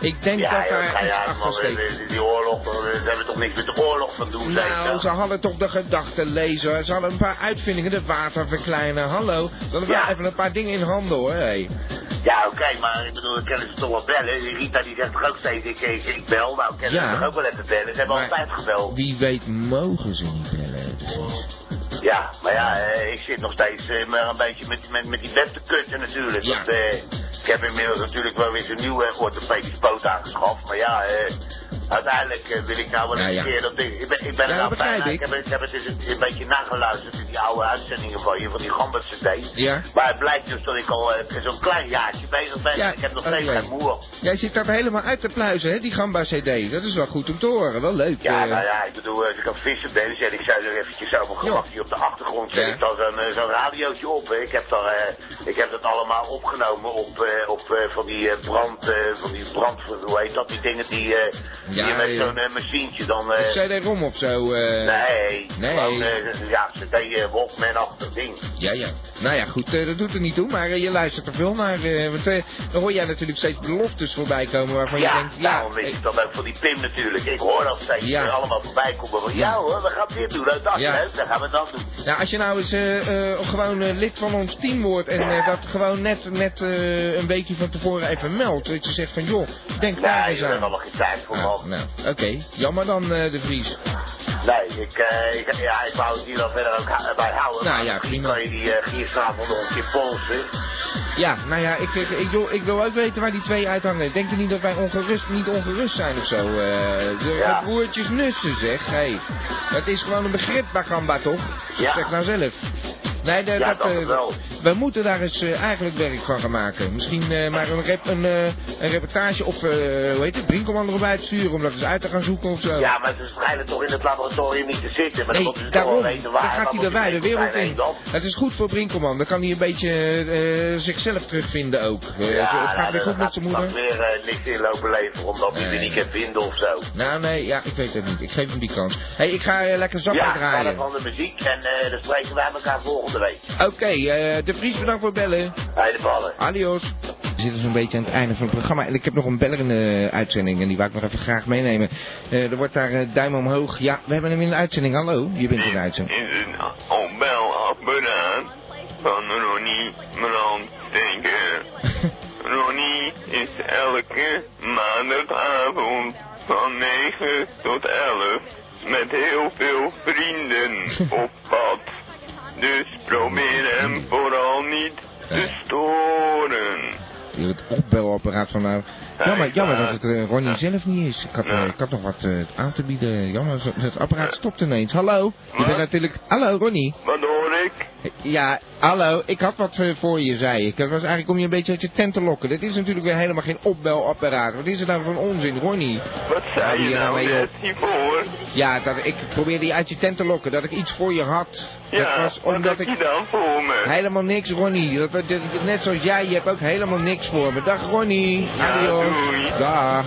S2: ik denk
S20: ja, nou
S2: dat
S20: ja,
S2: daar
S20: ga je
S2: iets
S20: uit,
S2: achter
S20: man.
S2: steekt.
S20: Die, die oorlog, eh, ze hebben toch niks met de oorlog van doen, zeg
S2: Nou, ze hadden toch de gedachtenlezer. Ze hadden een paar uitvindingen. De waterverkleiner. Hallo. Ze hadden wel even een paar dingen in handen hoor. Hey.
S20: Ja, oké, maar ik bedoel, ik kan ze toch wel bellen. Die Rita die zegt toch ook steeds, ik, ik, ik bel. Nou, ik kan
S2: Ja.
S20: ze toch ook wel even bellen. Ze hebben altijd gebeld.
S2: Wie weet mogen ze niet bellen. dus. precies.
S20: Ja, maar ja, eh, ik zit nog steeds eh, maar een beetje met, met, met die bed te kutten natuurlijk.
S2: Ja.
S20: Want, eh, ik heb inmiddels natuurlijk wel weer zo'n nieuwe uh, orthopedisch poot aangeschaft. Maar ja, eh, uiteindelijk eh, wil ik nou wel
S2: Ja,
S20: een
S2: ja.
S20: keer dat ding... Ik ben, ik ben
S2: Ja,
S20: er
S2: dat
S20: nou
S2: begrijp
S20: bijna. Ik. heb, ik heb het dus een, een beetje nageluisterd in die oude uitzendingen van je, van die Gambert CD.
S2: Ja.
S20: Maar het blijkt dus dat ik al eh, zo'n klein jaartje bezig ben.
S2: Ja,
S20: en ik heb nog
S2: oh,
S20: steeds
S2: jee.
S20: geen moer.
S2: Jij zit daar helemaal uit te pluizen, hè, die Gamba-CD. Dat is wel goed om te horen, wel leuk.
S20: Ja,
S2: eh.
S20: nou ja, ik bedoel, als ik aan het vissen ben, zet ik zo er eventjes over gemak hier op de achtergrond, zet ik dan zo'n eh, zo'n radiootje op. hè. Ik heb, daar, eh, ik heb dat allemaal opgenomen op, eh, op eh, van die eh, brand, eh, van die brand, hoe heet dat, die dingen die, eh
S2: Ja,
S20: die met
S2: ja.
S20: zo'n eh, machientje dan... eh,
S2: Een CD-ROM of zo. eh.
S20: Nee,
S2: Nee.
S20: gewoon, eh, ja, ze deed Wolfman achter ding.
S2: Ja, ja. Nou ja, goed, eh, dat doet er niet toe, maar eh, je luistert er veel naar. eh, want eh, dan hoor jij natuurlijk steeds beloftes voorbij komen waarvan je
S20: ja,
S2: denkt...
S20: daarom weet ik dat ook van die Pim natuurlijk. Ik hoor dat steeds
S2: Ja.
S20: eh, allemaal voorbij komen van,
S2: Ja.
S20: ja hoor, we gaan dit doen, dat, dat,
S2: Ja.
S20: hè, dan gaan we dat doen.
S2: Nou, als je nou eens eh, eh, gewoon eh, lid van ons team wordt en eh, dat gewoon net, net eh, een weekje van tevoren even meldt. Dat je zegt van, joh, denk daar
S20: Nee,
S2: eens
S20: we hebben
S2: aan.
S20: allemaal geen tijd voor, man.
S2: Nou, oké. Jammer dan, eh, De Vries.
S20: Nee, ik, eh, ik, ja, ik wou het hier wel verder ook ha- bij houden.
S2: Nou
S20: maar
S2: ja,
S20: misschien
S2: prima.
S20: kan je die eh, giersnavel nog een keer polsen.
S2: Ja, nou ja, ik, ik, ik, wil, ik wil ook weten waar die twee uithangen. Denk je niet dat wij ongerust, niet ongerust zijn of zo? eh de
S20: Ja.
S2: de broertjes nussen, zeg. Hey, dat is gewoon een begrip bij Gamba, toch?
S20: Ja.
S2: Zeg nou zelf. Nee, de-
S20: Ja, dat
S2: eh,
S20: wel.
S2: we moeten daar eens eh, eigenlijk werk van gaan maken. Misschien eh, maar een, rep, een, eh, een reportage of, eh, hoe heet het, Brinkelman erop uitsturen om dat eens uit te gaan zoeken of zo.
S20: Ja, maar ze schijnen toch in het laboratorium niet te zitten. Maar dan moeten ze toch
S2: daarom.
S20: wel weten
S2: Dan
S20: waar.
S2: gaat
S20: waar
S2: hij
S20: moet
S2: de wijde
S20: mee
S2: wereld
S20: zijn,
S2: in.
S20: hè, dan?
S2: Het is goed voor Brinkelman. Dan kan hij een beetje eh, zichzelf terugvinden ook. Eh,
S20: ja,
S2: het gaat
S20: nou,
S2: weer
S20: dan
S2: goed met zijn moeder.
S20: gaat weer eh, niks in lopen leveren omdat hij
S2: Nee.
S20: er niet kan vinden of zo.
S2: Nou, nee, ja, ik weet het niet. Ik geef hem die kans. Hé, hey, ik ga eh, lekker zakken
S20: ja,
S2: draaien.
S20: van de muziek en eh, dan spreken wij elkaar volgende week.
S2: Oké, eh, De Vries, bedankt voor het bellen.
S20: Bij de ballen.
S2: Adios. We zitten zo'n beetje aan het einde van het programma. En ik heb nog een beller in de eh, uitzending. En die wou ik nog even graag meenemen. Eh, er wordt daar eh, duim omhoog. Ja, we hebben hem in de uitzending. Hallo, je bent in de uitzending.
S21: is een oh, opbelapparaat van Ronnie Brandsteker. Ronnie is elke maandagavond van 9 tot 11 met heel veel vrienden op pad. Dus probeer hem vooral niet te storen.
S2: Je wordt belapparaat vandaag. Jammer, jammer dat het eh, Ronnie zelf niet is. Ik had, eh, ik had nog wat eh, aan te bieden. Jammer, zo- het apparaat stopt ineens. Hallo? Je bent natuurlijk... Hallo, Ronnie?
S21: Wat hoor ik?
S2: Ja, hallo. Ik had wat eh, voor je, zei ik. Dat was eigenlijk om je een beetje uit je tent te lokken. Dit is natuurlijk weer helemaal geen opbelapparaat. Wat is er nou voor onzin, Ronnie?
S21: Wat zei
S2: Hou
S21: je
S2: hier
S21: nou
S2: mee
S21: net
S2: op.
S21: hiervoor?
S2: Ja, dat, ik probeerde je uit je tent te lokken. Dat ik iets voor je had. dat
S21: Ja,
S2: was
S21: wat
S2: omdat
S21: heb
S2: ik...
S21: je dan voor me?
S2: Helemaal niks, Ronnie. Dat, dat- dat- net zoals jij, je hebt ook helemaal niks voor me. Dag, Ronnie.
S21: Ja,
S2: Adios.
S21: doei.
S2: Dag.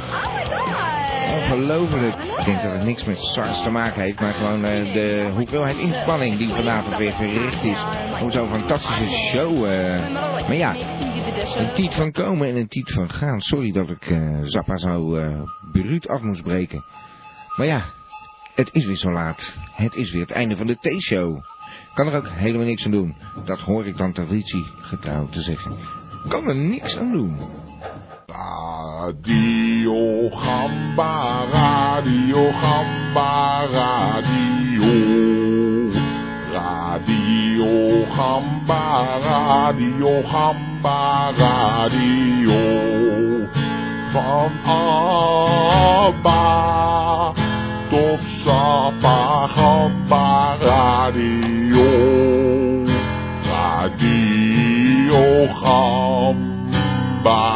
S2: Ongelooflijk. Ik denk dat het niks met SARS te maken heeft, maar gewoon eh, de hoeveelheid inspanning die vanavond weer verricht is. Om zo'n fantastische show. eh. Maar ja, een tiet van komen en een tiet van gaan. Sorry dat ik eh, Zappa zo eh bruut af moest breken. Maar ja, het is weer zo laat. Het is weer het einde van de T-show. Kan er ook helemaal niks aan doen. Dat hoor ik dan traditie getrouw te zeggen. Kan er niks aan doen.
S22: Radio Gamba, Radio Gamba, Radio. Radio Gamba, Radio Gamba, Radio. Van Abba tot Sapa Gamba, Radio. Radio Gamba.